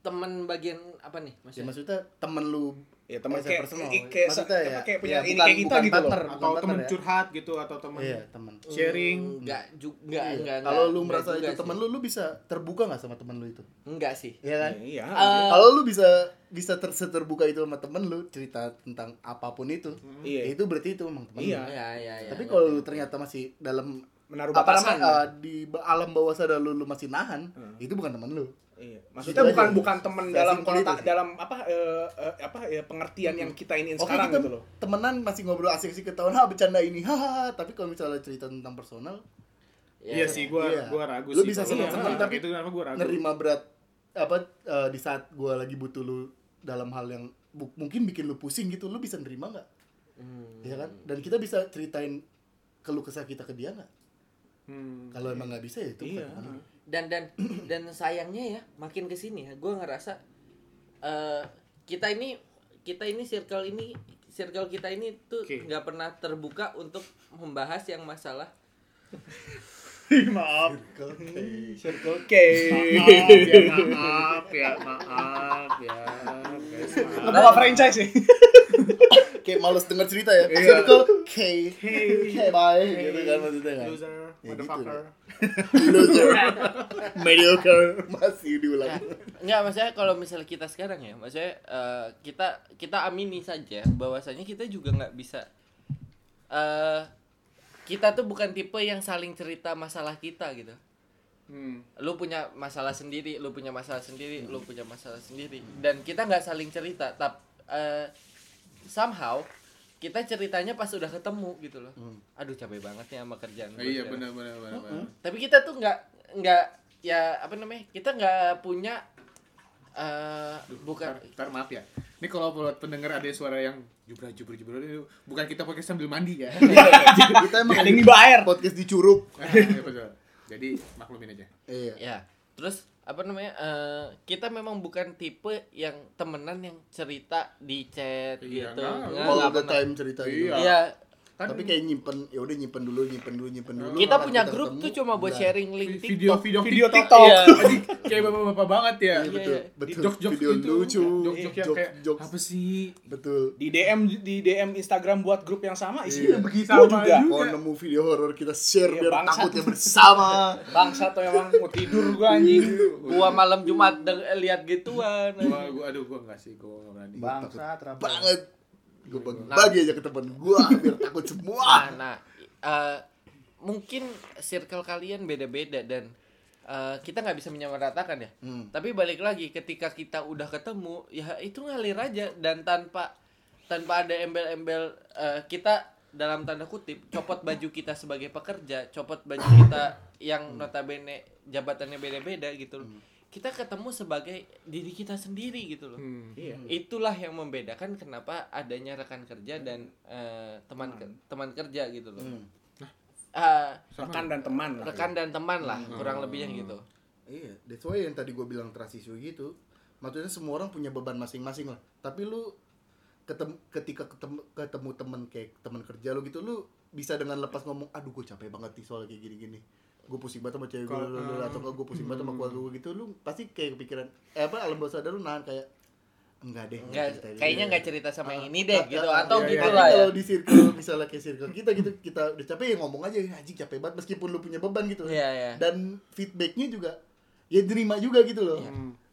S3: temen bagian apa nih
S1: Iya.
S4: Ya,
S3: maksudnya?
S4: maksudnya temen lu
S2: ya
S4: as
S2: teman
S4: a
S2: kayak
S4: personal.
S2: i- kayak,
S4: Maksudnya
S2: apa,
S4: ya,
S2: kayak punya
S4: ya,
S2: ini
S4: bukan-
S2: kayak kita
S4: bukan
S2: gitu loh
S4: partner,
S1: Atau temen
S4: bukan partner ya.
S1: curhat gitu atau temen
S4: Iya, temen.
S1: sharing.
S3: Enggak juga enggak
S4: Iya.
S3: enggak.
S4: Kalau
S3: enggak,
S4: lu
S3: enggak
S4: merasa
S3: juga
S4: itu
S3: sih.
S4: temen lu, lu bisa terbuka nggak sama temen lu itu?
S3: Enggak sih.
S4: Iya kan?
S2: iya
S3: Eh,
S4: Kalau lu bisa bisa ter terbuka itu sama temen lu cerita tentang apapun itu,
S2: Iya.
S4: ya itu berarti itu emang temen.
S2: Iya.
S4: lu.
S3: Iya iya iya.
S4: Tapi kalau lu ternyata masih dalam
S2: menaruh
S4: apa
S2: batasan
S4: namanya, eh, di ba- alam bawah sadar lu, lu masih nahan, itu bukan temen lu.
S2: Iya. Maksudnya
S4: Gitu
S2: bukan
S4: aja.
S2: bukan teman
S4: Saya
S2: dalam
S4: simpel itu
S2: kontak
S4: sih. Oh,
S2: dalam apa eh, eh, apa ya pengertian yang kita ini
S4: Oke
S2: sekarang
S4: kita
S2: gitu
S4: *laughs*
S2: loh.
S4: temenan masih ngobrol asik-asik ketahuan, ah bercanda ini, *laughs* hahaha. Tapi kalau misalnya cerita tentang personal,
S1: Iya sih, gua
S4: Iya.
S1: gua ragu
S4: Lu
S1: sih.
S4: bisa
S1: kalau
S4: seneng-seneng,
S1: tentang
S4: tapi
S1: itu kenapa gua ragu?
S4: nerima berat apa eh, di saat gua lagi butuh lu dalam hal yang bu- mungkin bikin lu pusing gitu, lu bisa nerima nggak?
S3: Hmm.
S4: Iya kan? Dan kita bisa ceritain keluh kesah kita ke dia nggak?
S1: Hmm.
S4: Kalau emang nggak bisa ya itu bukan
S2: Iya.
S4: temen lu.
S3: Dan dan *clears throat* dan sayangnya ya makin ke sini ya gua ngerasa eh kita ini kita ini circle ini circle kita ini tuh
S1: Oke.
S3: nggak pernah terbuka untuk membahas yang masalah
S2: maaf
S4: Oke.
S2: circle K
S1: Maaf ya, maaf ya, maaf ya. Guys, maaf.
S2: apa nggak franchise sih *laughs*
S4: Kayak males denger cerita ya.
S2: Iya.
S4: Circle K.
S1: Hey,
S4: Kayak bye
S1: hey,
S4: gitu kan maksudnya kan.
S1: Loser,
S4: Ya,
S1: motherfucker.
S4: Loser. *laughs* Mediocre masih
S3: Nah,
S4: diulang.
S3: *laughs* Nggak, maksudnya kalau misalnya kita sekarang ya, maksudnya eh, kita kita amini saja bahwasanya kita juga nggak bisa eh kita tuh bukan tipe yang saling cerita masalah kita gitu.
S1: Hmm.
S3: Lu punya masalah sendiri, lu punya masalah sendiri, lu punya masalah sendiri dan kita nggak saling cerita, tap eh, somehow kita ceritanya pas udah ketemu gitu loh. Aduh capek banget nih sama kerjaan.
S1: Nah,
S3: gua
S1: Hmm. iya
S3: sekarang.
S1: benar benar benar. benar.
S3: Tapi kita tuh nggak nggak ya apa namanya? Kita nggak punya eh bukan
S4: Iya.
S1: Ntar- ntar maaf ya. Ini kalau buat pendengar ada suara yang jubra jubra jubra itu bukan kita pakai sambil mandi
S4: *laughs*
S1: ya.
S4: Kita emang
S2: ada yang ngiba air
S4: podcast di Curug.
S1: Nah, iya, betul. Jadi maklumin aja.
S4: Iya.
S3: Ya, terus apa namanya? eh, kita memang bukan tipe yang temenan yang cerita di chat
S1: Iya,
S3: gitu.
S1: nggak.
S3: Nggak,
S4: All
S3: nggak
S4: the
S3: pernah.
S4: time cerita
S1: Iya.
S4: gitu.
S3: Iya,
S1: Kan
S4: Tapi kayak nyimpen, ya udah nyimpen dulu, nyimpen dulu, nyimpen dulu.
S3: kita
S4: Pas
S3: punya
S4: kita
S3: grup
S4: ketemu,
S3: tuh cuma buat
S4: nah,
S3: sharing link TikTok.
S1: video video
S2: video
S1: TikTok.
S2: TikTok
S4: *laughs*
S3: Iya.
S1: Anjing, kayak bapak-bapak banget ya. gitu.
S4: Iya, betul.
S3: Iya, iya.
S4: Betul.
S1: jok jok
S4: Video lucu.
S1: Jok jok Iya, kayak
S4: Jokes-jokes.
S1: apa sih?
S4: Betul.
S2: di DM di DM Instagram buat grup yang sama isinya
S4: Iya.
S2: begitu
S1: Sama
S2: juga
S1: juga.
S4: Kalau nemu video horor kita share
S2: Iya,
S4: biar
S2: bangsat.
S4: takutnya bersama.
S2: bangsa tuh emang mau tidur gua anjing
S3: Gua malam Jumat deng- lihat gituan.
S1: Gua gua aduh gua enggak sih, gua enggak berani.
S2: bangsa terabang
S4: Banget. Gue bagi, bagi aja ke teman gua biar takut
S3: Nah,
S4: semua.
S3: nah, eh, mungkin circle kalian beda-beda dan eh, kita nggak bisa menyamaratakan ya.
S4: Hmm.
S3: Tapi balik lagi ketika kita udah ketemu, ya itu ngalir aja dan tanpa tanpa ada embel-embel eh, kita dalam tanda kutip copot baju kita sebagai pekerja, copot baju kita yang notabene jabatannya beda-beda gitu loh. Kita ketemu sebagai diri kita sendiri gitu loh.
S1: Hmm.
S4: Ya.
S2: iya
S3: Itulah yang membedakan kenapa adanya rekan kerja dan eh, teman ke- teman kerja gitu loh.
S4: Hmm.
S3: Eh,
S2: rekan dan teman lah
S3: rekan dan teman lah
S4: Hmm.
S3: kurang lebihnya gitu.
S4: Iya, that's why yang tadi gue bilang trust issue gitu. Maksudnya semua orang punya beban masing-masing lah. Tapi lu ketem- ketika ketemu ketemu temen kayak teman kerja lu gitu, lu bisa dengan lepas ngomong, aduh gue capek banget nih soal kayak gini-gini. Gue pusing banget sama cewek gue
S1: Kalau-
S4: atau gue pusing banget sama keluarga gue gitu, lu pasti kayak kepikiran, eh apa alam bawah sadar lu nahan kayak enggak deh.
S3: Hmm. Nggak,
S4: ceritain
S3: kayaknya
S4: deh."
S3: nggak cerita sama yang ini
S4: Ah,
S3: deh
S4: ah,
S3: gitu
S4: ah,
S3: atau
S4: iya, iya.
S3: gitu
S4: Tapi
S3: lah ya.
S4: kalau di circle misalnya kayak circle kita gitu kita udah capek ya ngomong aja "Ya, anjing capek banget meskipun lu punya beban gitu
S3: Iya, iya.
S4: dan feedbacknya juga ya terima juga gitu loh
S3: Iya.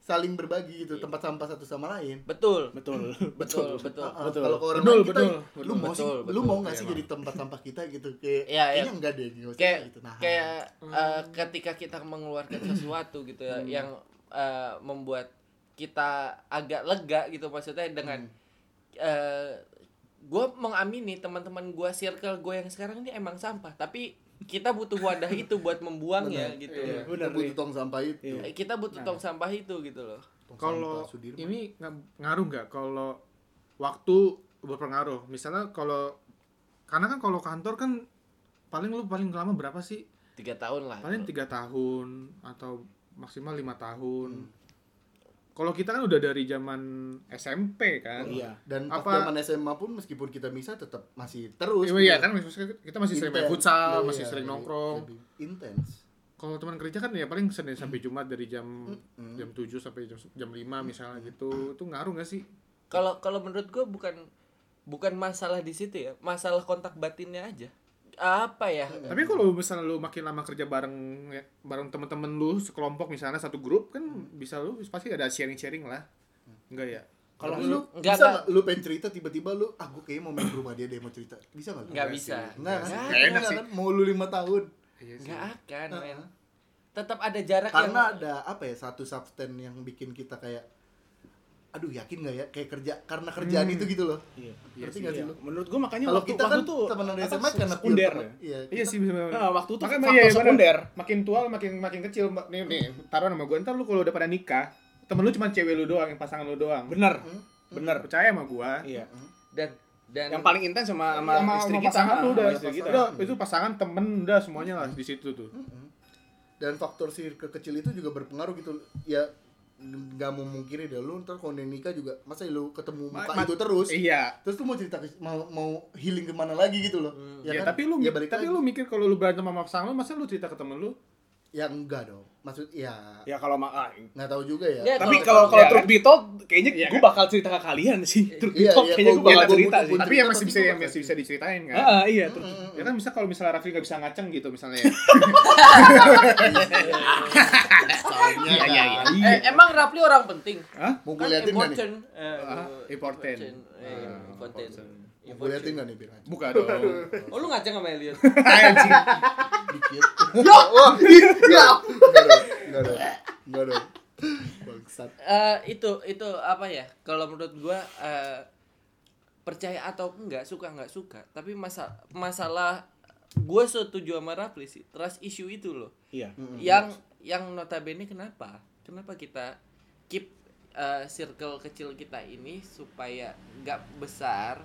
S4: saling berbagi gitu tempat sampah satu sama lain
S3: Betul.
S2: betul
S3: Betul, betul.
S4: Ah, ah,
S2: Betul.
S4: kalau ke orang
S1: Betul,
S4: lain kita
S1: betul,
S4: lu
S1: betul.
S4: mau sih
S3: Betul,
S4: lu
S3: betul.
S4: mau nggak
S1: Iya,
S4: sih
S1: emang.
S4: jadi tempat sampah kita gitu kayak
S3: Iya, iya.
S4: kayaknya enggak deh nggak usah
S3: kayak
S4: gitu nah
S3: kayak eh, ketika kita mengeluarkan sesuatu gitu
S4: Hmm.
S3: ya yang eh, membuat kita agak lega gitu maksudnya dengan
S4: Hmm.
S3: gue mengamini teman-teman gue circle gue yang sekarang ini emang sampah tapi kita butuh wadah itu buat membuangnya
S4: Benar. Nah.
S3: gitu
S1: Iya.
S4: Kita
S2: bener
S4: butuh
S2: nih.
S4: tong sampah itu
S2: Iya.
S3: Eh, kita butuh tong sampah itu gitu loh
S4: Tong sampah
S1: kalau
S4: Sudirman.
S1: ini nga- ngaruh nggak kalau waktu berpengaruh misalnya kalau karena kan kalau kantor kan paling lu paling lama berapa sih
S3: tiga tahun lah
S1: paling tiga tahun atau maksimal lima tahun
S4: Hmm.
S1: kalau kita kan udah dari zaman SMP kan
S4: Oh,
S2: iya
S4: dan pas
S1: Apa-
S4: zaman SMA pun meskipun kita misah tetap masih terus
S1: Iya, iya
S4: gitu.
S1: kan maksudnya kita masih sering main
S4: Intens.
S1: futsal
S4: Iya, Hmm.
S1: masih sering
S4: lebih-
S1: nongkrong
S4: lebih intens
S1: kalau teman kerja kan ya paling senin sampai jumat dari jam
S4: Mm.
S1: jam 7 sampai jam jam
S4: Hmm.
S1: lima misalnya gitu itu ngaruh nggak sih
S3: kalau kalau menurut gue bukan bukan masalah di situ ya masalah kontak batinnya aja apa ya
S4: Iya.
S1: Tapi kalau misalnya lu makin lama kerja bareng ya, bareng temen-temen lu sekelompok misalnya satu grup kan
S4: Hmm.
S1: bisa lu pasti ada sharing-sharing lah. Enggak ya?
S4: Kalau
S2: Kalau
S4: lu
S3: enggak,
S4: bisa
S3: enggak.
S4: nggak lu pengen cerita tiba-tiba lu ah gue kayaknya mau main ke rumah dia deh mau cerita. Bisa enggak?
S3: nggak bisa
S4: Enggak kan?
S3: Nggak,
S1: Nggak enak
S4: Nggak
S1: sih.
S4: kan? Mau lu 5 tahun.
S1: Iya sih.
S3: nggak akan men
S4: Heeh.
S3: tetap ada jarak
S4: Nah, Karena
S3: yang
S4: ada apa ya satu substan yang bikin kita kayak aduh yakin nggak ya kayak kerja karena kerjaan itu gitu loh.
S2: iya
S4: Ngerti
S1: sih,
S4: nggak sih
S2: Iya.
S4: lu?
S2: menurut gua makanya
S4: Kalau
S2: waktu,
S4: kita
S2: waktu
S4: kan
S2: tuh
S4: temenan
S2: apa,
S4: SMA karena pure
S2: sekunder
S4: temen.
S2: ya?
S4: Iya.
S1: Iya
S4: kita-
S1: sih bisa.
S2: Nah, waktu itu
S1: Makanya-
S2: faktor
S1: iya, iya, bener.
S2: sekunder.
S1: Makin tua lu makin makin kecil ma- nih nih taruh nama gue ntar lu kalau udah pada nikah temen lu cuma cewek lu doang yang pasangan lu doang.
S2: bener
S1: Bener percaya sama gua.
S2: iya
S3: dan dan
S2: yang paling intens sama sama, istri kita
S1: pasangan
S2: sama
S1: lu udah,
S2: istri kita
S1: udah, itu pasangan temen udah semuanya lah di situ tuh.
S4: Dan faktor circle kecil itu juga berpengaruh gitu. Ya nggak mau mungkin ya lu ntar kalau udah nikah juga masa ya lu ketemu
S2: Ma-
S4: muka
S2: ma-
S4: itu terus
S2: Iya.
S4: terus lu mau cerita ke, mau mau healing kemana lagi gitu loh
S1: Ya, tapi lu
S4: ya balik
S1: tapi
S4: lagi.
S1: lu mikir kalau lu berantem sama pasangan lu masa lu cerita ke temen lu?
S4: ya enggak dong maksud ya
S2: Ya kalau ma ah,
S4: nggak tahu juga ya
S3: Ya,
S2: tapi
S3: Kalau-
S2: kalau kalau
S1: iya.
S2: truk Bitold kayaknya
S1: Iya,
S2: gue
S1: kan?
S2: bakal cerita ke kalian sih. Truk
S4: Iya,
S2: Bitold
S4: iya,
S2: kayaknya
S4: kalau
S2: gue bakal
S4: gua
S2: cerita
S4: butuh
S2: sih.
S4: pun-
S1: Tapi yang masih
S4: cerita pasti
S1: bisa
S4: gua
S1: yang
S4: bakal
S1: masih bisa diceritain
S2: Ah,
S1: kan?
S2: ah, iya. Truk-
S1: Ya kan bisa kalau misalnya Rafli nggak bisa ngaceng gitu misalnya.
S4: Iya. soalnya ya, ya,
S1: Iya.
S4: ya.
S3: Eh, emang Rafli orang penting.
S4: mau gue
S3: Kan
S4: liatin nggak nih
S3: important. Eh,
S1: Ah, important.
S3: important. Eh,
S1: Ah,
S3: important.
S4: mau gue liatin nggak nih Pir?
S1: Buka dong.
S3: Oh lu ngajak sama Elliot?
S1: Anjing.
S4: dikit ya *laughs* wah ya enggak dong enggak dong enggak dong bangsat
S3: Eh, itu itu apa ya? Kalau menurut gua eh, percaya atau enggak suka enggak suka, tapi masa masalah gua setuju sama Rafli sih trust issue itu loh.
S2: Iya.
S3: yang yang notabene kenapa kenapa kita keep uh, circle kecil kita ini supaya nggak besar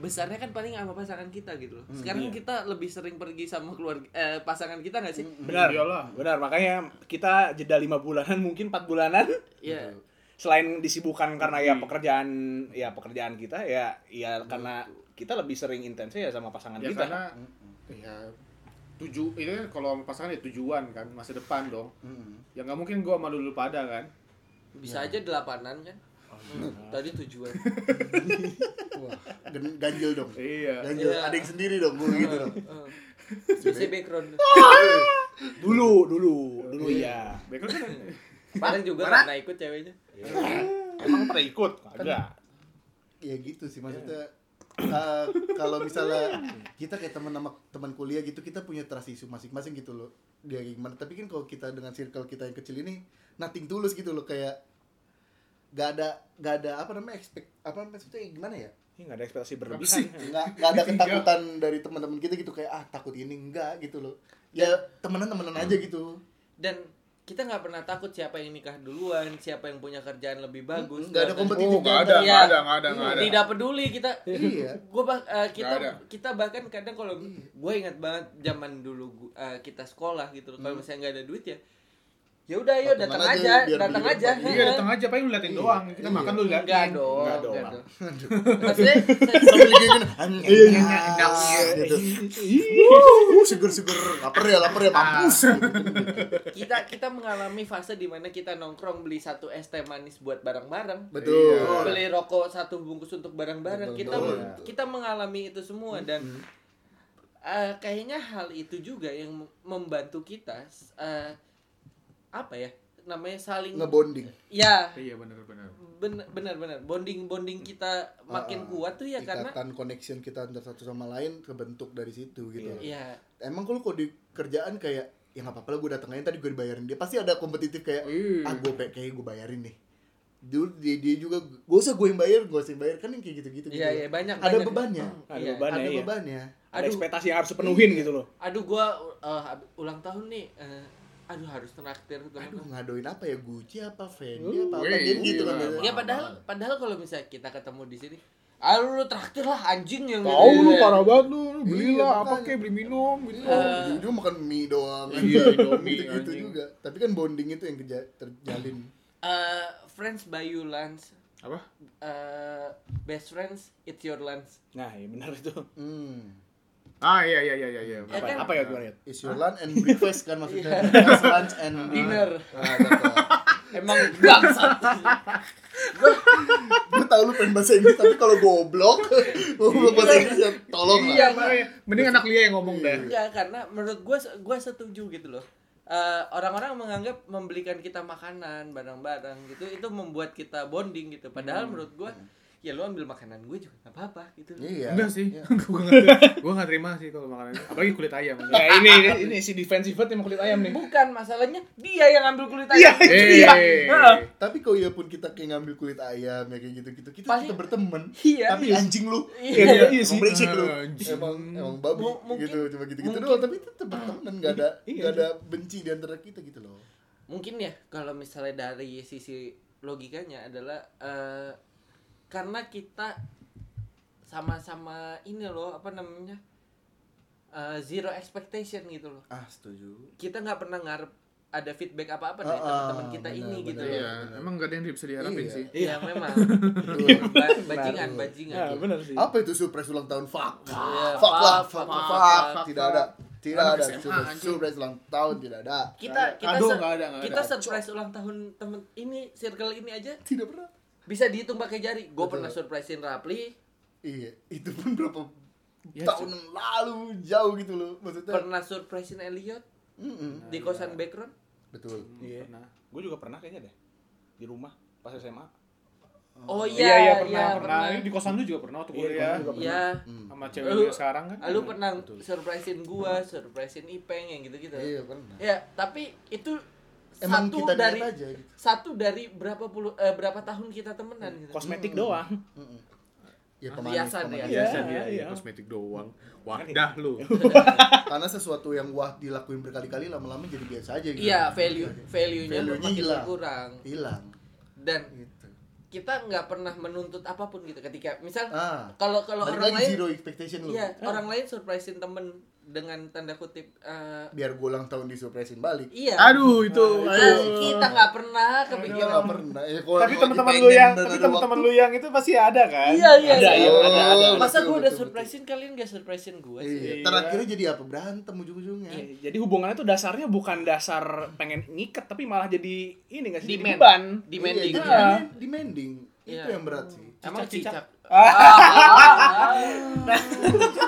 S3: besarnya kan paling sama pasangan kita gitu loh sekarang
S2: iya.
S3: kita lebih sering pergi sama keluarga eh, pasangan kita nggak sih
S2: Benar.
S1: Iyalah.
S2: Benar, makanya kita jeda 5 bulanan mungkin 4 bulanan
S3: ya
S2: selain disibukkan karena ya pekerjaan ya pekerjaan kita ya ya karena kita lebih sering intensnya ya sama pasangan
S1: Ya
S2: kita.
S1: karena ya tuju itu kan kalau sama pasangan ya tujuan kan masa depan dong. Ya nggak mungkin gua sama dulu pada kan.
S3: bisa aja delapanan kan Hmm, tadi tujuan
S4: wah gen- ganjil dong
S1: Iya.
S4: ganjil
S3: Iya.
S4: ada yang sendiri dong gue gitu dong
S3: Eh, bisa background
S2: Dulu, dulu, dulu ya.
S1: Background kan
S3: paling juga karena ikut ceweknya
S2: Emang pernah ikut? iya. Kagak.
S4: ya gitu sih maksudnya eh, kalau misalnya kita kayak teman sama teman kuliah gitu kita punya trust issue masing-masing gitu loh dia kayak gimana tapi kan kalau kita dengan circle kita yang kecil ini nothing tulus gitu loh kayak gak ada gak ada apa namanya expect apa maksudnya gimana ya
S2: Ini nggak ada ekspektasi
S1: Apa sih?
S2: berlebihan.
S4: nggak nggak ada
S1: Tiga.
S4: ketakutan dari teman-teman kita gitu kayak ah takut ini enggak gitu loh ya temenan temenan aja gitu
S3: dan kita nggak pernah takut siapa yang nikah duluan siapa yang punya kerjaan lebih bagus
S4: nggak ada
S3: dan-
S4: kompetitif
S1: Oh, nggak ada, nggak
S3: Iya.
S1: ada, nggak ada, nggak ada.
S3: tidak peduli kita
S4: Iya.
S3: gua bah- eh, kita
S1: Nggak ada.
S3: kita bahkan kadang kalau gue ingat banget zaman dulu gua- eh, kita sekolah gitu loh. kalau misalnya nggak ada duit ya ya udah ayo
S4: Patungan
S3: datang
S4: aja,
S3: aja
S4: biar
S3: datang
S4: beli
S3: aja
S4: tempat.
S1: Iya datang aja paling lu liatin doang. Kita
S4: Iya.
S1: makan lu liatin.
S3: enggak dong
S2: Nggak
S3: enggak
S2: dong.
S3: dong maksudnya
S4: Sambil kayak gini, "Am, nyam,
S2: Ah,
S4: nyam," Iya, kan?
S2: iya.
S4: gitu. Wuh, seger-seger lapar ya lapar ya mampus
S3: kita kita mengalami fase dimana kita nongkrong beli satu es teh manis buat bareng-bareng
S4: betul
S1: Iya.
S3: beli rokok satu bungkus untuk barang-barang kita
S4: Betul. Mm-hmm.
S3: kita mengalami itu semua dan eh, kayaknya hal itu juga yang mem- membantu kita s- eh, apa ya namanya saling
S4: ngebonding
S3: ya
S1: Iya benar-benar.
S3: bener benar benar bonding bonding kita makin
S4: Ah,
S3: kuat tuh
S1: Iya,
S3: ya karena
S4: ikatan connection kita antara satu sama lain kebentuk dari situ gitu
S1: Iya,
S4: loh.
S3: ya
S4: emang kalau kalau di kerjaan kayak ya nggak apa-apa lah gue datang aja tadi gue dibayarin dia pasti ada kompetitif kayak
S1: Iya.
S4: ah gue kayak gue bayarin nih dulu dia, dia juga gue usah gue yang bayar gue usah yang bayar kan yang kayak gitu-gitu
S1: Iya,
S3: ya
S4: gitu.
S3: ya banyak
S4: ada
S3: banyak.
S4: bebannya
S2: Ada
S3: Iya.
S2: bebannya,
S4: ada
S2: iya.
S4: bebannya
S2: Ada
S3: Aduh.
S2: ekspektasi yang harus dipenuhin gitu loh.
S3: aduh gua eh, hab- ulang tahun nih eh, aduh harus traktir
S4: aduh
S3: teman-teman
S4: ngadoin apa ya Gucci apa Fendi apa apa
S1: Wih,
S4: dia gitu
S1: Oh,
S4: kan
S1: iya.
S4: biasanya.
S3: ya padahal padahal kalau misalnya kita ketemu di sini ah lu traktir lah anjing yang
S1: Tahu lu
S3: Iya.
S1: parah banget lu, lu
S4: Iya,
S1: belilah apa
S4: makanya. Iya.
S1: kek beli minum gitu.
S3: Eh,
S4: Dia juga Oh, makan mie doang
S1: Iya, Indomie,
S4: gitu, gitu
S1: anjing.
S4: juga tapi kan bonding itu yang keja- terjalin
S1: *clears throat*
S3: Eh, friends by you lunch
S1: Apa?
S3: Eh, best friends it's your lunch
S2: Nah, ya benar itu.
S4: hmm.
S1: Ah iya iya iya iya iya.
S3: *laughs* Ya
S2: Apa,
S3: kan?
S2: apa ya gue lihat?
S4: is your lunch
S3: *laughs*
S4: and breakfast kan
S3: Iya.
S4: maksudnya breakfast lunch and
S3: Dinner.
S4: ah, cakep.
S3: emang bangsat
S4: gue tau lu pengen bahasa Inggris tapi kalau
S3: *laughs*
S4: goblok *laughs* goblok bahasa Inggris ya tolong
S1: Iya,
S4: lah
S1: makanya. mending anak Lia yang ngomong deh.
S3: Enggak, karena menurut gue gue setuju gitu loh. Eh, orang-orang menganggap membelikan kita makanan barang-barang gitu itu membuat kita bonding gitu. Padahal menurut gue ya lu ambil makanan gue juga nggak apa-apa gitu.
S4: iya
S1: Enggak sih,
S4: Iya.
S1: *laughs* gua nggak gua nggak terima sih kalau makanan apalagi kulit ayam.
S2: Ya ini ini, ini si defensive banget yang kulit ayam nih.
S3: Bukan masalahnya dia yang ambil kulit
S2: Iya,
S3: ayam.
S2: iya. Heeh.
S4: tapi kalau ya pun kita kayak ngambil kulit ayam ya kayak gitu-gitu kita
S3: Paling-
S4: tetap berteman
S3: Iya.
S4: tapi anjing lu
S2: Iya,
S3: Iya.
S2: iya, iya
S4: emang
S2: sih.
S4: brengsek lu
S1: Anjing.
S4: emang emang babi
S3: Mu- mungkin-
S4: gitu cuma gitu-gitu
S3: mungkin-
S4: doang tapi tetap berteman nggak ada
S2: Iya,
S4: nggak ada benci di antara kita gitu loh
S3: Mungkin ya kalau misalnya dari sisi logikanya adalah eh, karena kita sama-sama ini loh apa namanya eh, zero expectation gitu loh.
S4: ah setuju
S3: kita nggak pernah ngarep ada feedback apa-apa dari
S4: Ah, ah,
S3: teman-teman kita
S4: benar,
S3: ini
S4: benar.
S3: gitu loh.
S1: Iya, emang gak ada yang bisa diharapin
S4: Iya.
S1: sih.
S3: Iya, memang.
S4: Betul.
S3: Ba- bajingan, bajingan. gitu.
S2: Ya, benar sih.
S4: apa itu surprise ulang tahun fuck fuck
S3: Iya,
S4: fuck lah
S3: fuck,
S4: fuck
S3: fuck,
S4: fuck,
S1: fuck,
S4: fuck.
S1: fuck.
S4: tidak ada tidak
S1: Anak
S4: ada
S1: SMA,
S4: surprise,
S1: anjing.
S4: surprise ulang tahun tidak ada
S3: Kita kita
S1: Aduh,
S3: ser-
S1: nggak ada, nggak ada.
S3: kita surprise ulang tahun temen ini circle ini aja
S4: tidak pernah
S3: bisa dihitung pakai jari. Gue
S4: Betul.
S3: pernah surprisein Rapli,
S4: iya itu pun berapa
S1: Ya,
S4: tahun yang lalu jauh gitu loh maksudnya
S3: Iya, pernah surprisein Elliot
S4: Mm-mm.
S3: di
S4: iya.
S3: kosan background.
S4: betul
S2: Iya. Gue juga pernah kayaknya deh. Di rumah pas SMA.
S3: Oh iya,
S1: Iya, iya, pernah, pernah. Ini di kosan lu juga pernah waktu
S2: Iya,
S1: kuliah.
S2: di kosan juga pernah.
S3: Iya.
S4: Hmm.
S1: Sama cewek
S3: Lu-
S1: lu yang sekarang kan.
S3: Ah, Lu pernah surprisein gua, surprisein Ipeng yang gitu-gitu.
S4: iya pernah
S3: Ya, tapi itu
S4: emang
S3: satu
S4: kita
S3: dari
S4: dari aja gitu
S3: satu dari berapa puluh eh, berapa tahun kita temenan gitu.
S2: Kosmetik doang.
S4: Mm-mm.
S3: Ah,
S4: ya pemanis,
S3: riasan,
S4: pemanis.
S3: riasan.
S1: Biasa dia,
S2: Iya,
S1: iya,
S2: iya.
S1: kosmetik doang. Wadah *laughs* lu.
S4: karena sesuatu yang wah dilakuin berkali-kali lama-lama jadi biasa aja gitu
S3: Iya, value value-nya
S4: Value-nya
S3: makin
S4: hilang.
S3: berkurang
S4: hilang
S3: dan
S4: gitu
S3: kita nggak pernah menuntut apapun gitu ketika misal
S4: ah
S3: kalau kalau
S4: balik
S3: orang
S4: lagi
S3: lain
S4: zero Eh. expectation lu
S3: iya, orang lain surprisein temen dengan tanda kutip eh,
S4: biar gue ulang tahun disurprisein balik
S3: iya.
S1: Aduh, itu.
S3: Nah,
S1: aduh.
S3: kita nggak pernah
S4: Iya
S3: kepikiran
S4: nggak pernah. Ya, kalau-
S1: Tapi
S4: kalau
S1: teman-teman
S4: dipengen
S1: lu yang
S4: dan
S1: tapi
S4: ada
S1: teman-teman
S4: waktu,
S1: lu yang itu pasti ada kan?
S3: Iya, iya,
S1: Ada,
S3: iya.
S1: iya, ada, ada.
S4: Betul,
S3: Masa gue udah
S4: betul,
S3: surprisein kalian gak surprisein gue sih?
S4: Iya.
S1: Iya.
S4: Terakhirnya jadi apa? Berantem ujung-ujungnya.
S2: Iya, jadi hubungannya tuh dasarnya bukan dasar pengen ngikat tapi malah jadi ini nggak sih? Jadi
S3: Demand.
S2: beban.
S3: Demanding.
S4: Iya, jadi
S2: Iya.
S4: demand- demanding. Itu
S3: Iya.
S4: yang berat sih.
S3: Emang
S1: Cicak,
S3: cicak.
S1: Ah.
S3: Ah.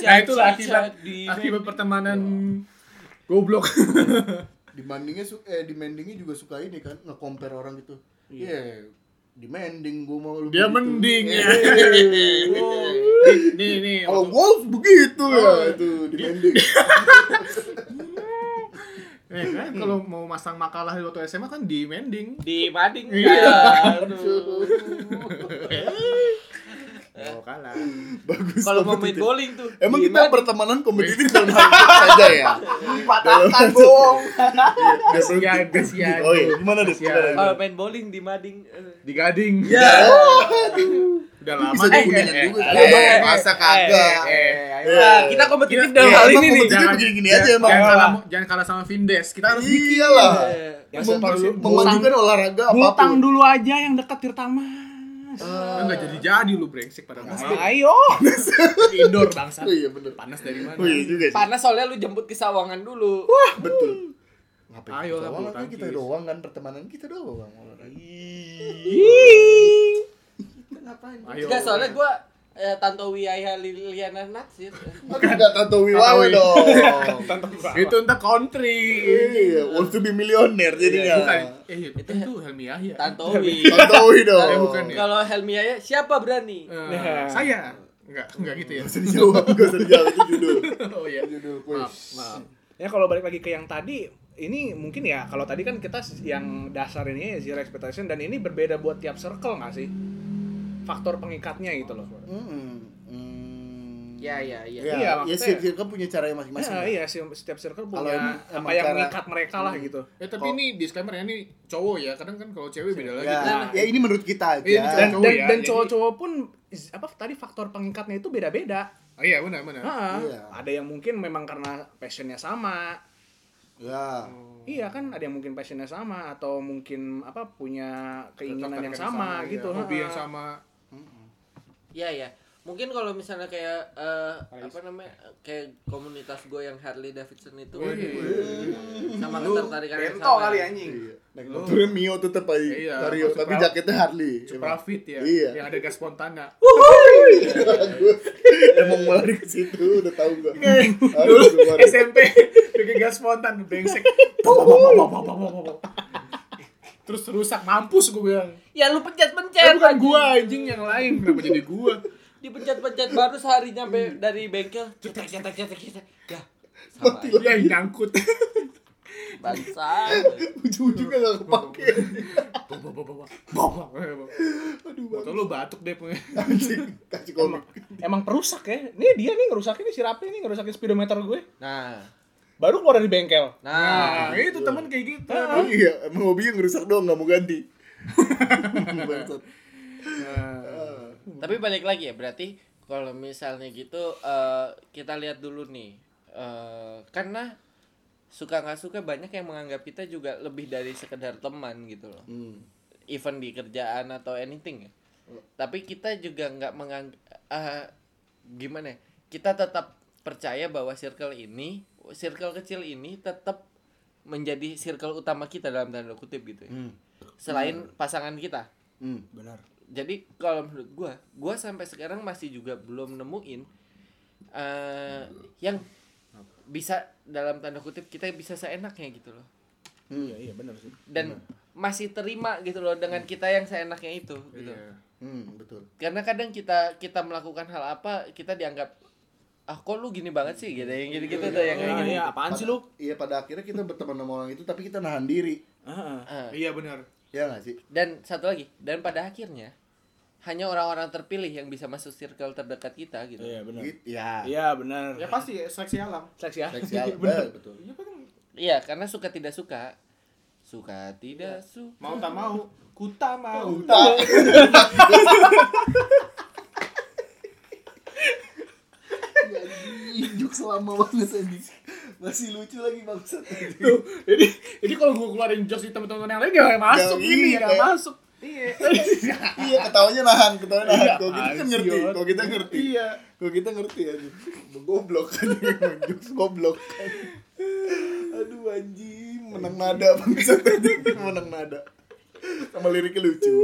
S1: Nah, itulah akibat akibat pertemanan goblok.
S4: Demandingnya su- eh demandingnya juga suka ini kan nge-compare orang gitu. Iya. demanding gua mau gitu. Eh, lu.
S1: Dia
S4: begitu.
S1: mending ya. *laughs* Nih, nih.
S4: Kalau
S1: waktu-
S4: Wolf begitu ya
S1: Oh,
S4: *laughs* itu demanding.
S1: Eh, kan kalau mau masang makalah di waktu SMA kan di mending.
S3: di mading
S1: Iya.
S3: ya. Eh.
S1: Oh, *laughs* kalah.
S4: Bagus.
S3: Kalau mau main
S4: kompetitif.
S3: bowling tuh.
S4: Emang
S3: di
S4: kita
S3: mading.
S4: pertemanan kompetitif dalam hal itu saja ya.
S2: Dipatahkan bohong.
S1: Kasihan, kasihan.
S4: Oh iya, gimana deh?
S1: Kasihan.
S4: Gimana?
S3: kalau main bowling di mading. eh.
S1: Di gading.
S3: Iya.
S4: Oh,
S1: Udah lama
S4: Bisa
S1: nih,
S4: digunakan
S1: eh,
S4: juga.
S1: eh,
S4: Lama,
S1: eh,
S4: masa
S1: eh,
S4: kagak.
S1: eh, eh,
S4: Eh,
S1: eh.
S3: Nah, kita kompetitif
S1: Iya,
S3: dalam
S1: iya,
S3: hal ini
S4: emang
S3: nih.
S4: kompetitif. Jadi begini-gini aja
S1: jangan-
S4: emang.
S1: Jangan
S2: Kalah.
S1: kalah, jangan kalah sama Vindes. Kita harus bikin.
S4: Iya lah.
S3: Eh,
S2: Yang
S4: Mem-
S2: surprise lu,
S4: Memajukan olahraga
S2: Ngutang
S4: apapun.
S2: dulu aja yang dekat Tirta Mas.
S1: Enggak jadi-jadi lu brengsek pada malam.
S2: Ayo.
S1: Indoor bangsa.
S4: Oh iya bener.
S1: Panas dari mana?
S4: Oh iya juga sih.
S3: Panas soalnya lu jemput ke sawangan dulu.
S4: Betul. Ngapain
S1: Ayo
S4: kita
S1: lah,
S4: doang,
S1: bulu
S4: kan kita
S1: tangkis.
S4: doang kan pertemanan kita doang olahraga. Kita ngapain?
S1: Ayo.
S3: Enggak soalnya gua eh, Tanto Wiaya Liliana
S4: *laughs*
S3: naksir.
S4: Aku enggak tato wiwawe
S1: Tantowi.
S4: dong.
S1: Itu entar country.
S4: Iya, wants to be millionaire jadi
S1: Iya,
S4: enggak.
S1: bukan. Eh, itu itu Helmi Yahya.
S3: Tantowi.
S4: Tatowi dong.
S1: Eh, bukan ya.
S3: Kalau Helmi Yahya siapa berani?
S1: Eh,
S2: Iya.
S4: Nah.
S1: saya. Enggak, enggak gitu ya. *laughs*
S4: Dijawab enggak usah dijawab itu judul.
S1: Oh iya.
S4: Judul
S1: Maaf,
S4: kuis.
S1: maaf.
S2: Ya kalau balik lagi ke yang tadi, ini mungkin ya kalau tadi kan kita yang dasar ini ya zero expectation dan ini berbeda buat tiap circle nggak sih? Faktor pengikatnya gitu loh.
S4: Mm-mm. Mm.
S3: Ya, ya, ya.
S4: Iya,
S2: Iya,
S4: Hmm, ya
S2: maksudnya-
S4: setiap circle punya caranya masing-masing.
S2: Nah,
S1: Ya,
S2: iya sih setiap circle
S4: Kalau
S2: punya
S4: emang-
S2: apa
S4: emang
S2: yang
S4: cara-
S2: mengikat mereka lah gitu.
S1: Eh tapi ini disclaimer ya ini cowok ya. Kadang kan kalau cewek beda lagi.
S4: Ya,
S1: Nah,
S4: ya ini menurut kita aja.
S1: Iya, ini
S2: Dan
S1: cowok
S2: dan,
S1: ya,
S2: dan
S1: jadi-
S2: cowok-cowok pun z- apa tadi faktor pengikatnya itu beda-beda.
S1: oh, iya benar benar.
S2: Heeh.
S4: Iya.
S2: Ada yang mungkin memang karena passionnya sama.
S4: Ya.
S1: Oh,
S2: Iya kan ada yang mungkin passionnya sama atau mungkin apa punya keinginan
S1: Ketertarikan
S2: yang sama,
S1: iya.
S2: gitu.
S1: Hobi
S2: heeh.
S1: yang sama.
S3: Iya ya. Mungkin kalau misalnya kayak eh, apa namanya kayak komunitas gue yang Harley Davidson itu sama ketertarikan yang
S2: Bento
S3: sama.
S2: kali anjing.
S4: Iya. Naik motornya Mio tetep aja.
S1: Iya,
S4: Vario,
S1: maksud
S4: tapi
S1: pra-
S4: jaketnya Harley. Emang. *laughs*
S1: Profit ya.
S4: Iya.
S1: Yang ada gas spontana.
S4: Emang mulai ke situ udah tahu gak?
S1: Dulu SMP bikin gas spontan brengsek. Terus rusak mampus gue bilang.
S3: Ya
S1: Eh,
S3: lu pencet-pencet.
S1: bukan
S3: anjing.
S1: gua anjing yang lain kenapa jadi gua?
S3: Dipencet-pencet baru sehari nyampe dari bengkel. Cetek cetek cetek cetek. Ya, Dah. Sama aja.
S1: Dia yang nyangkut.
S3: Bangsat.
S4: Ujung-ujungnya gak kepake.
S1: Bawa, bawa, bawa. Bawa.
S4: Aduh,
S1: Motor lu batuk deh punya.
S4: anjing. Kasih komik.
S2: Emang perusak ya. Nih dia nih ngerusakin nih si Rapi nih ngerusakin speedometer gue.
S3: Nah.
S2: Baru keluar dari bengkel.
S1: Nah,
S3: Nah.
S1: itu teman kayak gitu.
S4: Iya, emang hobinya ngerusak doang gak mau ganti. Bangsat.
S3: Tapi balik lagi ya berarti kalau misalnya gitu eh, kita lihat dulu nih. Eh, karena suka nggak suka banyak yang menganggap kita juga lebih dari sekedar teman gitu loh
S4: Hmm.
S3: even di kerjaan atau anything ya tapi kita juga nggak mengang eh, gimana ya, kita tetap percaya bahwa circle ini circle kecil ini tetap menjadi circle utama kita dalam tanda kutip gitu ya.
S4: Hmm.
S3: selain pasangan kita
S4: Hmm. Benar.
S3: jadi kalau menurut gua gua sampai sekarang masih juga belum nemuin eh yang bisa dalam tanda kutip kita bisa seenaknya gitu loh
S4: Hmm.
S2: Iya, iya benar sih.
S3: dan masih terima gitu loh dengan kita yang seenaknya itu gitu
S1: Iya.
S4: Hmm, betul.
S3: karena kadang kita kita melakukan hal apa kita dianggap ah kok lu gini banget sih gitu yang gitu gitu tuh yang kayak
S2: Iya,
S3: gitu.
S2: iya, apaan sih lu?
S4: Iya, pada akhirnya kita berteman sama orang itu tapi kita nahan diri.
S2: Heeh.
S3: Ah,
S1: Iya benar.
S4: Ya nggak sih?
S3: dan satu lagi dan pada akhirnya hanya orang-orang terpilih yang bisa masuk circle terdekat kita gitu
S2: Iya, benar.
S4: Gitu. Ya.
S2: Iya, benar.
S1: Ya pasti ya, seleksi alam.
S2: Seleksi ya.
S4: Seksi
S2: *laughs*
S4: alam.
S1: Benar.
S4: Eh, betul.
S1: Iya kan
S3: iya karena suka tidak suka suka
S2: Iya.
S3: tidak suka
S1: mau tak mau, kuta mau.
S4: Tak. Ya, Juk selama banget anjing. Masih lucu lagi bangsat.
S2: Tuh, Jadi jadi kalau gue keluarin jokes di teman-teman yang lain gak masuk
S4: Gak,
S2: ini,
S4: iya,
S2: gak
S4: kayak-
S2: masuk. Iya.
S4: Iya, ketawanya nahan, ketawanya nahan.
S2: Iya,
S4: Kalau kita kan
S2: apaan
S4: ngerti,
S2: sih, Yon?
S4: kalau kita ngerti.
S2: Iya.
S4: Kalau kita ngerti ya, goblok kan, jokes goblok. Aduh anjing, menang nada bangsat tadi, menang nada. Sama liriknya lucu.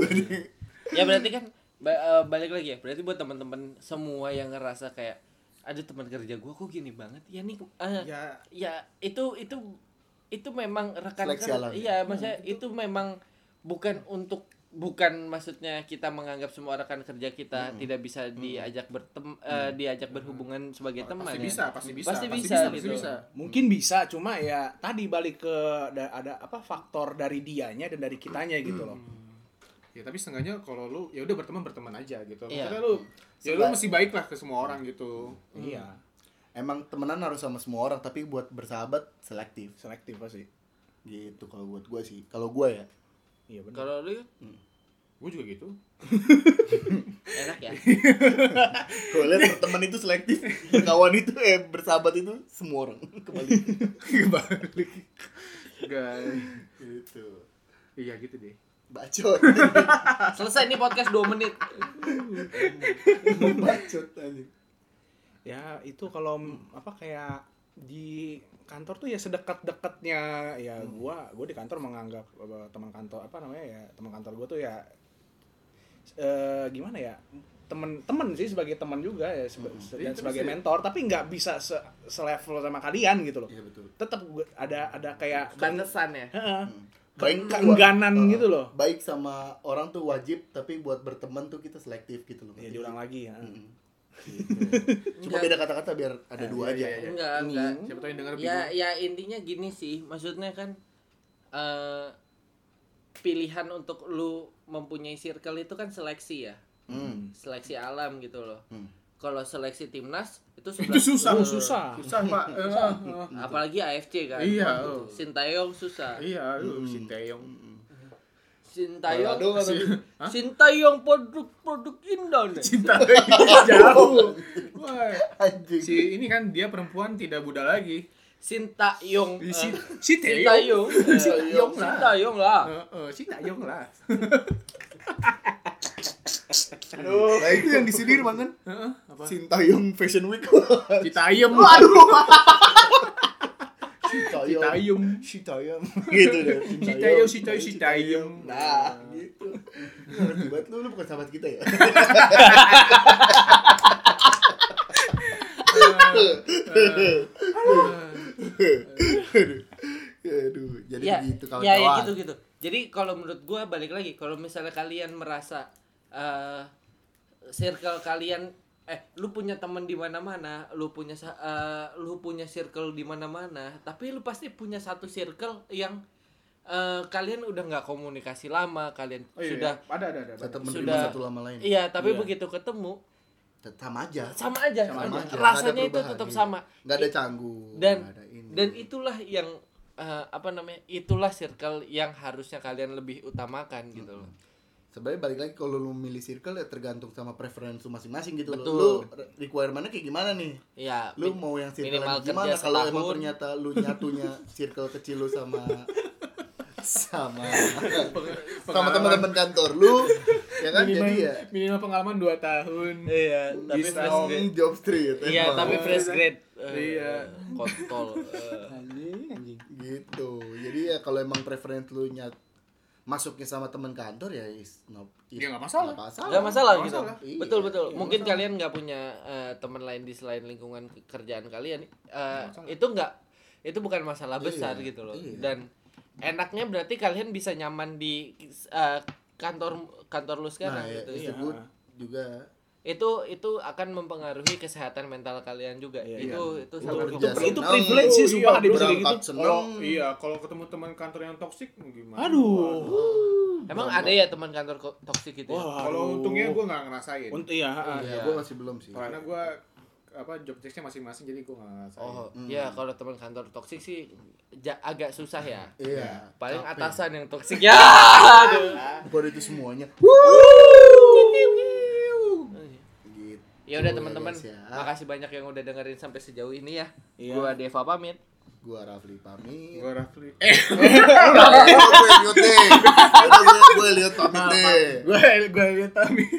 S3: ya berarti kan ba- eh, balik lagi ya berarti buat teman-teman semua yang ngerasa kayak ada teman kerja gua kok gini banget ya nih eh, ya.
S1: Ya
S3: itu itu itu memang rekan
S4: Seleksi
S3: kerja
S4: alam. ya? Hmm.
S3: iya maksudnya itu memang bukan untuk bukan maksudnya kita menganggap semua rekan kerja kita
S4: Hmm.
S3: tidak bisa diajak bertem eh, diajak berhubungan sebagai
S4: Oh,
S3: teman
S1: pasti
S3: ya.
S1: bisa, pasti bisa.
S3: Pasti bisa,
S1: pasti
S3: gitu.
S1: bisa. Hmm.
S2: Mungkin bisa, cuma ya tadi balik ke da- ada apa faktor dari dianya dan dari kitanya gitu loh.
S1: Ya tapi setengahnya kalau lu ya udah berteman berteman aja gitu.
S3: Iya.
S1: Maksudnya lu ya lu
S4: Seba-
S1: mesti baik lah ke semua orang gitu.
S2: Iya,
S4: Emang temenan harus sama semua orang, tapi buat bersahabat selektif.
S2: selektif pasti.
S4: Gitu kalau buat gue sih. Kalau gue ya.
S2: Iya benar.
S3: kalau lu
S1: Gue juga gitu. *laughs*
S3: enak
S4: *laughs*
S3: ya
S4: Gue lihat teman itu *laughs* selektif, berkawan itu eh bersahabat itu semua orang. *laughs* Kembali.
S1: Kebalik. Guys.
S4: gitu.
S1: Iya gitu deh.
S4: Bacot. *laughs*
S3: selesai nih podcast 2 menit
S4: Bacot anjing.
S2: Ya itu kalau m- apa kayak di kantor tuh ya sedekat-dekatnya ya
S1: Hmm.
S2: gua gua di kantor menganggap eh, teman kantor apa namanya ya teman kantor gua tuh ya eh, gimana ya temen-temen sih sebagai teman juga ya seba- se- dan
S1: Iya,
S2: sebagai
S1: terus ya.
S2: mentor tapi nggak bisa se selevel sama kalian gitu loh
S4: Iya betul.
S2: tetap gua- ada ada
S1: Hmm.
S2: kayak
S3: bangesan ya
S2: Heeh.
S4: Hmm. Baik
S2: keengganan
S4: Wah,
S2: gitu loh.
S4: Baik sama orang tuh wajib, tapi buat berteman tuh kita selektif gitu loh.
S2: Ya diulang lagi ya.
S4: Mm-mm. Gitu. Cuma beda Hmm. kata-kata biar ada
S1: Ya,
S4: dua
S1: iya,
S4: aja.
S1: iya, iya.
S3: enggak
S4: Ini.
S3: enggak
S1: Siapa tahu yang denger
S3: ya
S1: bingung.
S3: ya intinya gini sih maksudnya kan eh pilihan untuk lu mempunyai circle itu kan seleksi ya
S4: Hmm.
S3: seleksi alam gitu loh
S4: Hmm.
S3: kalau seleksi timnas itu,
S1: Itu susah.
S2: Oh,
S3: Eh,
S2: susah.
S1: *laughs* Susah, Pak. Eh, eh.
S3: apalagi AFC kan
S1: Iya, oh.
S3: Sintayong susah
S1: Iya, lu
S4: Hmm.
S1: Sinteyong.
S4: Balado
S3: Sintayong
S4: nggak tapi?
S1: Hah?
S3: Sintayong produk-produk Indonesia
S1: Cinta *laughs* jauh. Wah.
S4: Anjing.
S1: Si ini kan dia perempuan tidak budak lagi.
S3: Sintayong eh,
S1: Si si Taeyong.
S3: Sintayong eh,
S1: Sintayong lah.
S3: Sintayong lah
S1: Eh, eh, si Taeyong lah.
S4: Nah itu yang disindir bang kan?
S1: Heeh, apa?
S4: Sintayong Fashion Week.
S1: Citayem.
S4: Sintayong.
S1: Citayem.
S4: Sintayong. Gitu *laughs* deh.
S1: Sintayong, Sintayong, Sintayong.
S4: Nah, gitu. Lu ngerti banget lu, lu bukan sahabat kita ya. Aduh, jadi
S3: ya,
S4: gitu
S3: ya, ya
S4: kawan-kawan.
S3: gitu gitu jadi kalau menurut gua balik lagi kalau misalnya kalian merasa eh circle kalian eh lu punya teman di mana-mana lu punya sa- eh, lu punya circle di mana-mana tapi lu pasti punya satu circle yang eh, kalian udah nggak komunikasi lama kalian
S1: Oh, iya,
S3: sudah
S1: iya. ada ada ada. ada.
S4: Tetap menerima
S3: Sudah.
S4: satu lama lain.
S3: iya tapi
S2: Iya.
S3: begitu ketemu
S4: Tetap sama aja.
S3: sama aja,
S4: Sama aja. Nggak
S3: rasanya
S4: ada
S3: itu
S4: perubahan,
S3: tetap
S4: iya.
S3: sama
S4: Nggak ada canggung.
S3: dan
S4: nggak ada ini.
S3: dan itulah yang eh, apa namanya itulah circle yang harusnya kalian lebih utamakan gitu loh
S4: sebenarnya balik lagi kalau lu milih circle ya tergantung sama preferensi lu masing-masing gitu
S3: Betul.
S4: loh. Lu re- requirement-nya kayak gimana nih?
S3: Iya.
S4: Lu mau yang circle
S3: minimal
S4: yang gimana
S3: kerja
S4: kalau emang
S3: setahun.
S4: ternyata lu nyatunya circle kecil lu sama sama sama teman-teman kantor lu ya kan
S2: minimal,
S4: jadi ya
S2: minimal pengalaman 2 tahun
S3: Iya, tapi
S4: bisa
S3: fresh grade.
S4: job street
S3: Iya,
S4: emang.
S3: tapi fresh grade.
S2: Iya.
S3: Eh,
S4: *laughs*
S3: Kontol. Eh,
S2: anjing anjing
S4: gitu jadi ya kalau emang preferensi lu nyat masuknya sama teman kantor ya is no is-
S1: Ya, nggak masalah.
S4: nggak
S3: Gak masalah
S1: Nggak
S3: gitu.
S1: masalah.
S4: Iya,
S3: betul betul.
S4: nggak
S3: Mungkin
S4: masalah.
S3: kalian nggak punya eh, teman lain di selain lingkungan ke- kerjaan kalian. Eh,
S1: masalah.
S3: itu nggak itu bukan masalah
S4: Iya,
S3: besar gitu loh.
S4: iya.
S3: Dan enaknya berarti kalian bisa nyaman di eh, kantor kantor lu
S4: nah
S3: sekarang
S4: ya,
S3: gitu.
S4: itu
S3: Iya.
S4: good juga
S3: Itu itu akan mempengaruhi kesehatan mental kalian juga.
S2: Iya.
S3: itu itu
S4: Itu
S3: sangat
S4: kerja
S3: mempengaruhi.
S2: itu
S4: senang.
S2: privilege sih
S1: Oh, iya,
S2: sumpah ada bisa kayak
S4: berangkat
S2: gitu
S4: seneng
S1: Kalau iya, kalau ketemu teman kantor yang toksik gimana?
S2: aduh
S3: Emang ada ya teman kantor ko- toksik gitu. Ya?
S2: Wah, aduh.
S1: Kalau untungnya gue nggak ngerasain.
S2: Unt- iya, ah.
S4: ya
S3: Iya.
S4: gue masih belum sih
S1: Karena gue apa job desk-nya masing-masing jadi gue nggak ngerasain.
S3: Oh,
S2: Hmm.
S3: ya kalau teman kantor toksik sih ja- agak susah ya.
S4: iya
S3: Paling
S4: capek.
S3: atasan yang toksik ya. Aduh.
S4: Bukan itu semuanya gitu
S3: Ya
S2: Iya,
S3: udah teman-teman,
S4: guys, ya.
S3: makasih banyak yang udah dengerin sampai sejauh ini ya.
S2: Iya.
S3: Gua Deva pamit.
S4: gue Rafli pamit
S1: Gue Rafli. Eh,
S4: gue liat deh gue liat pamit
S3: Nah,
S4: deh
S2: gue gue lihat pamit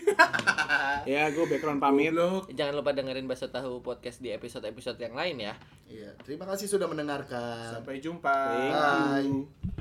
S2: *laughs* ya gue background pamit
S3: Jangan lupa dengerin Baso Tahu podcast di episode-episode yang lain ya.
S4: iya terima kasih sudah mendengarkan
S2: Eh.
S1: sampai jumpa.
S4: Bye.
S2: Thank you.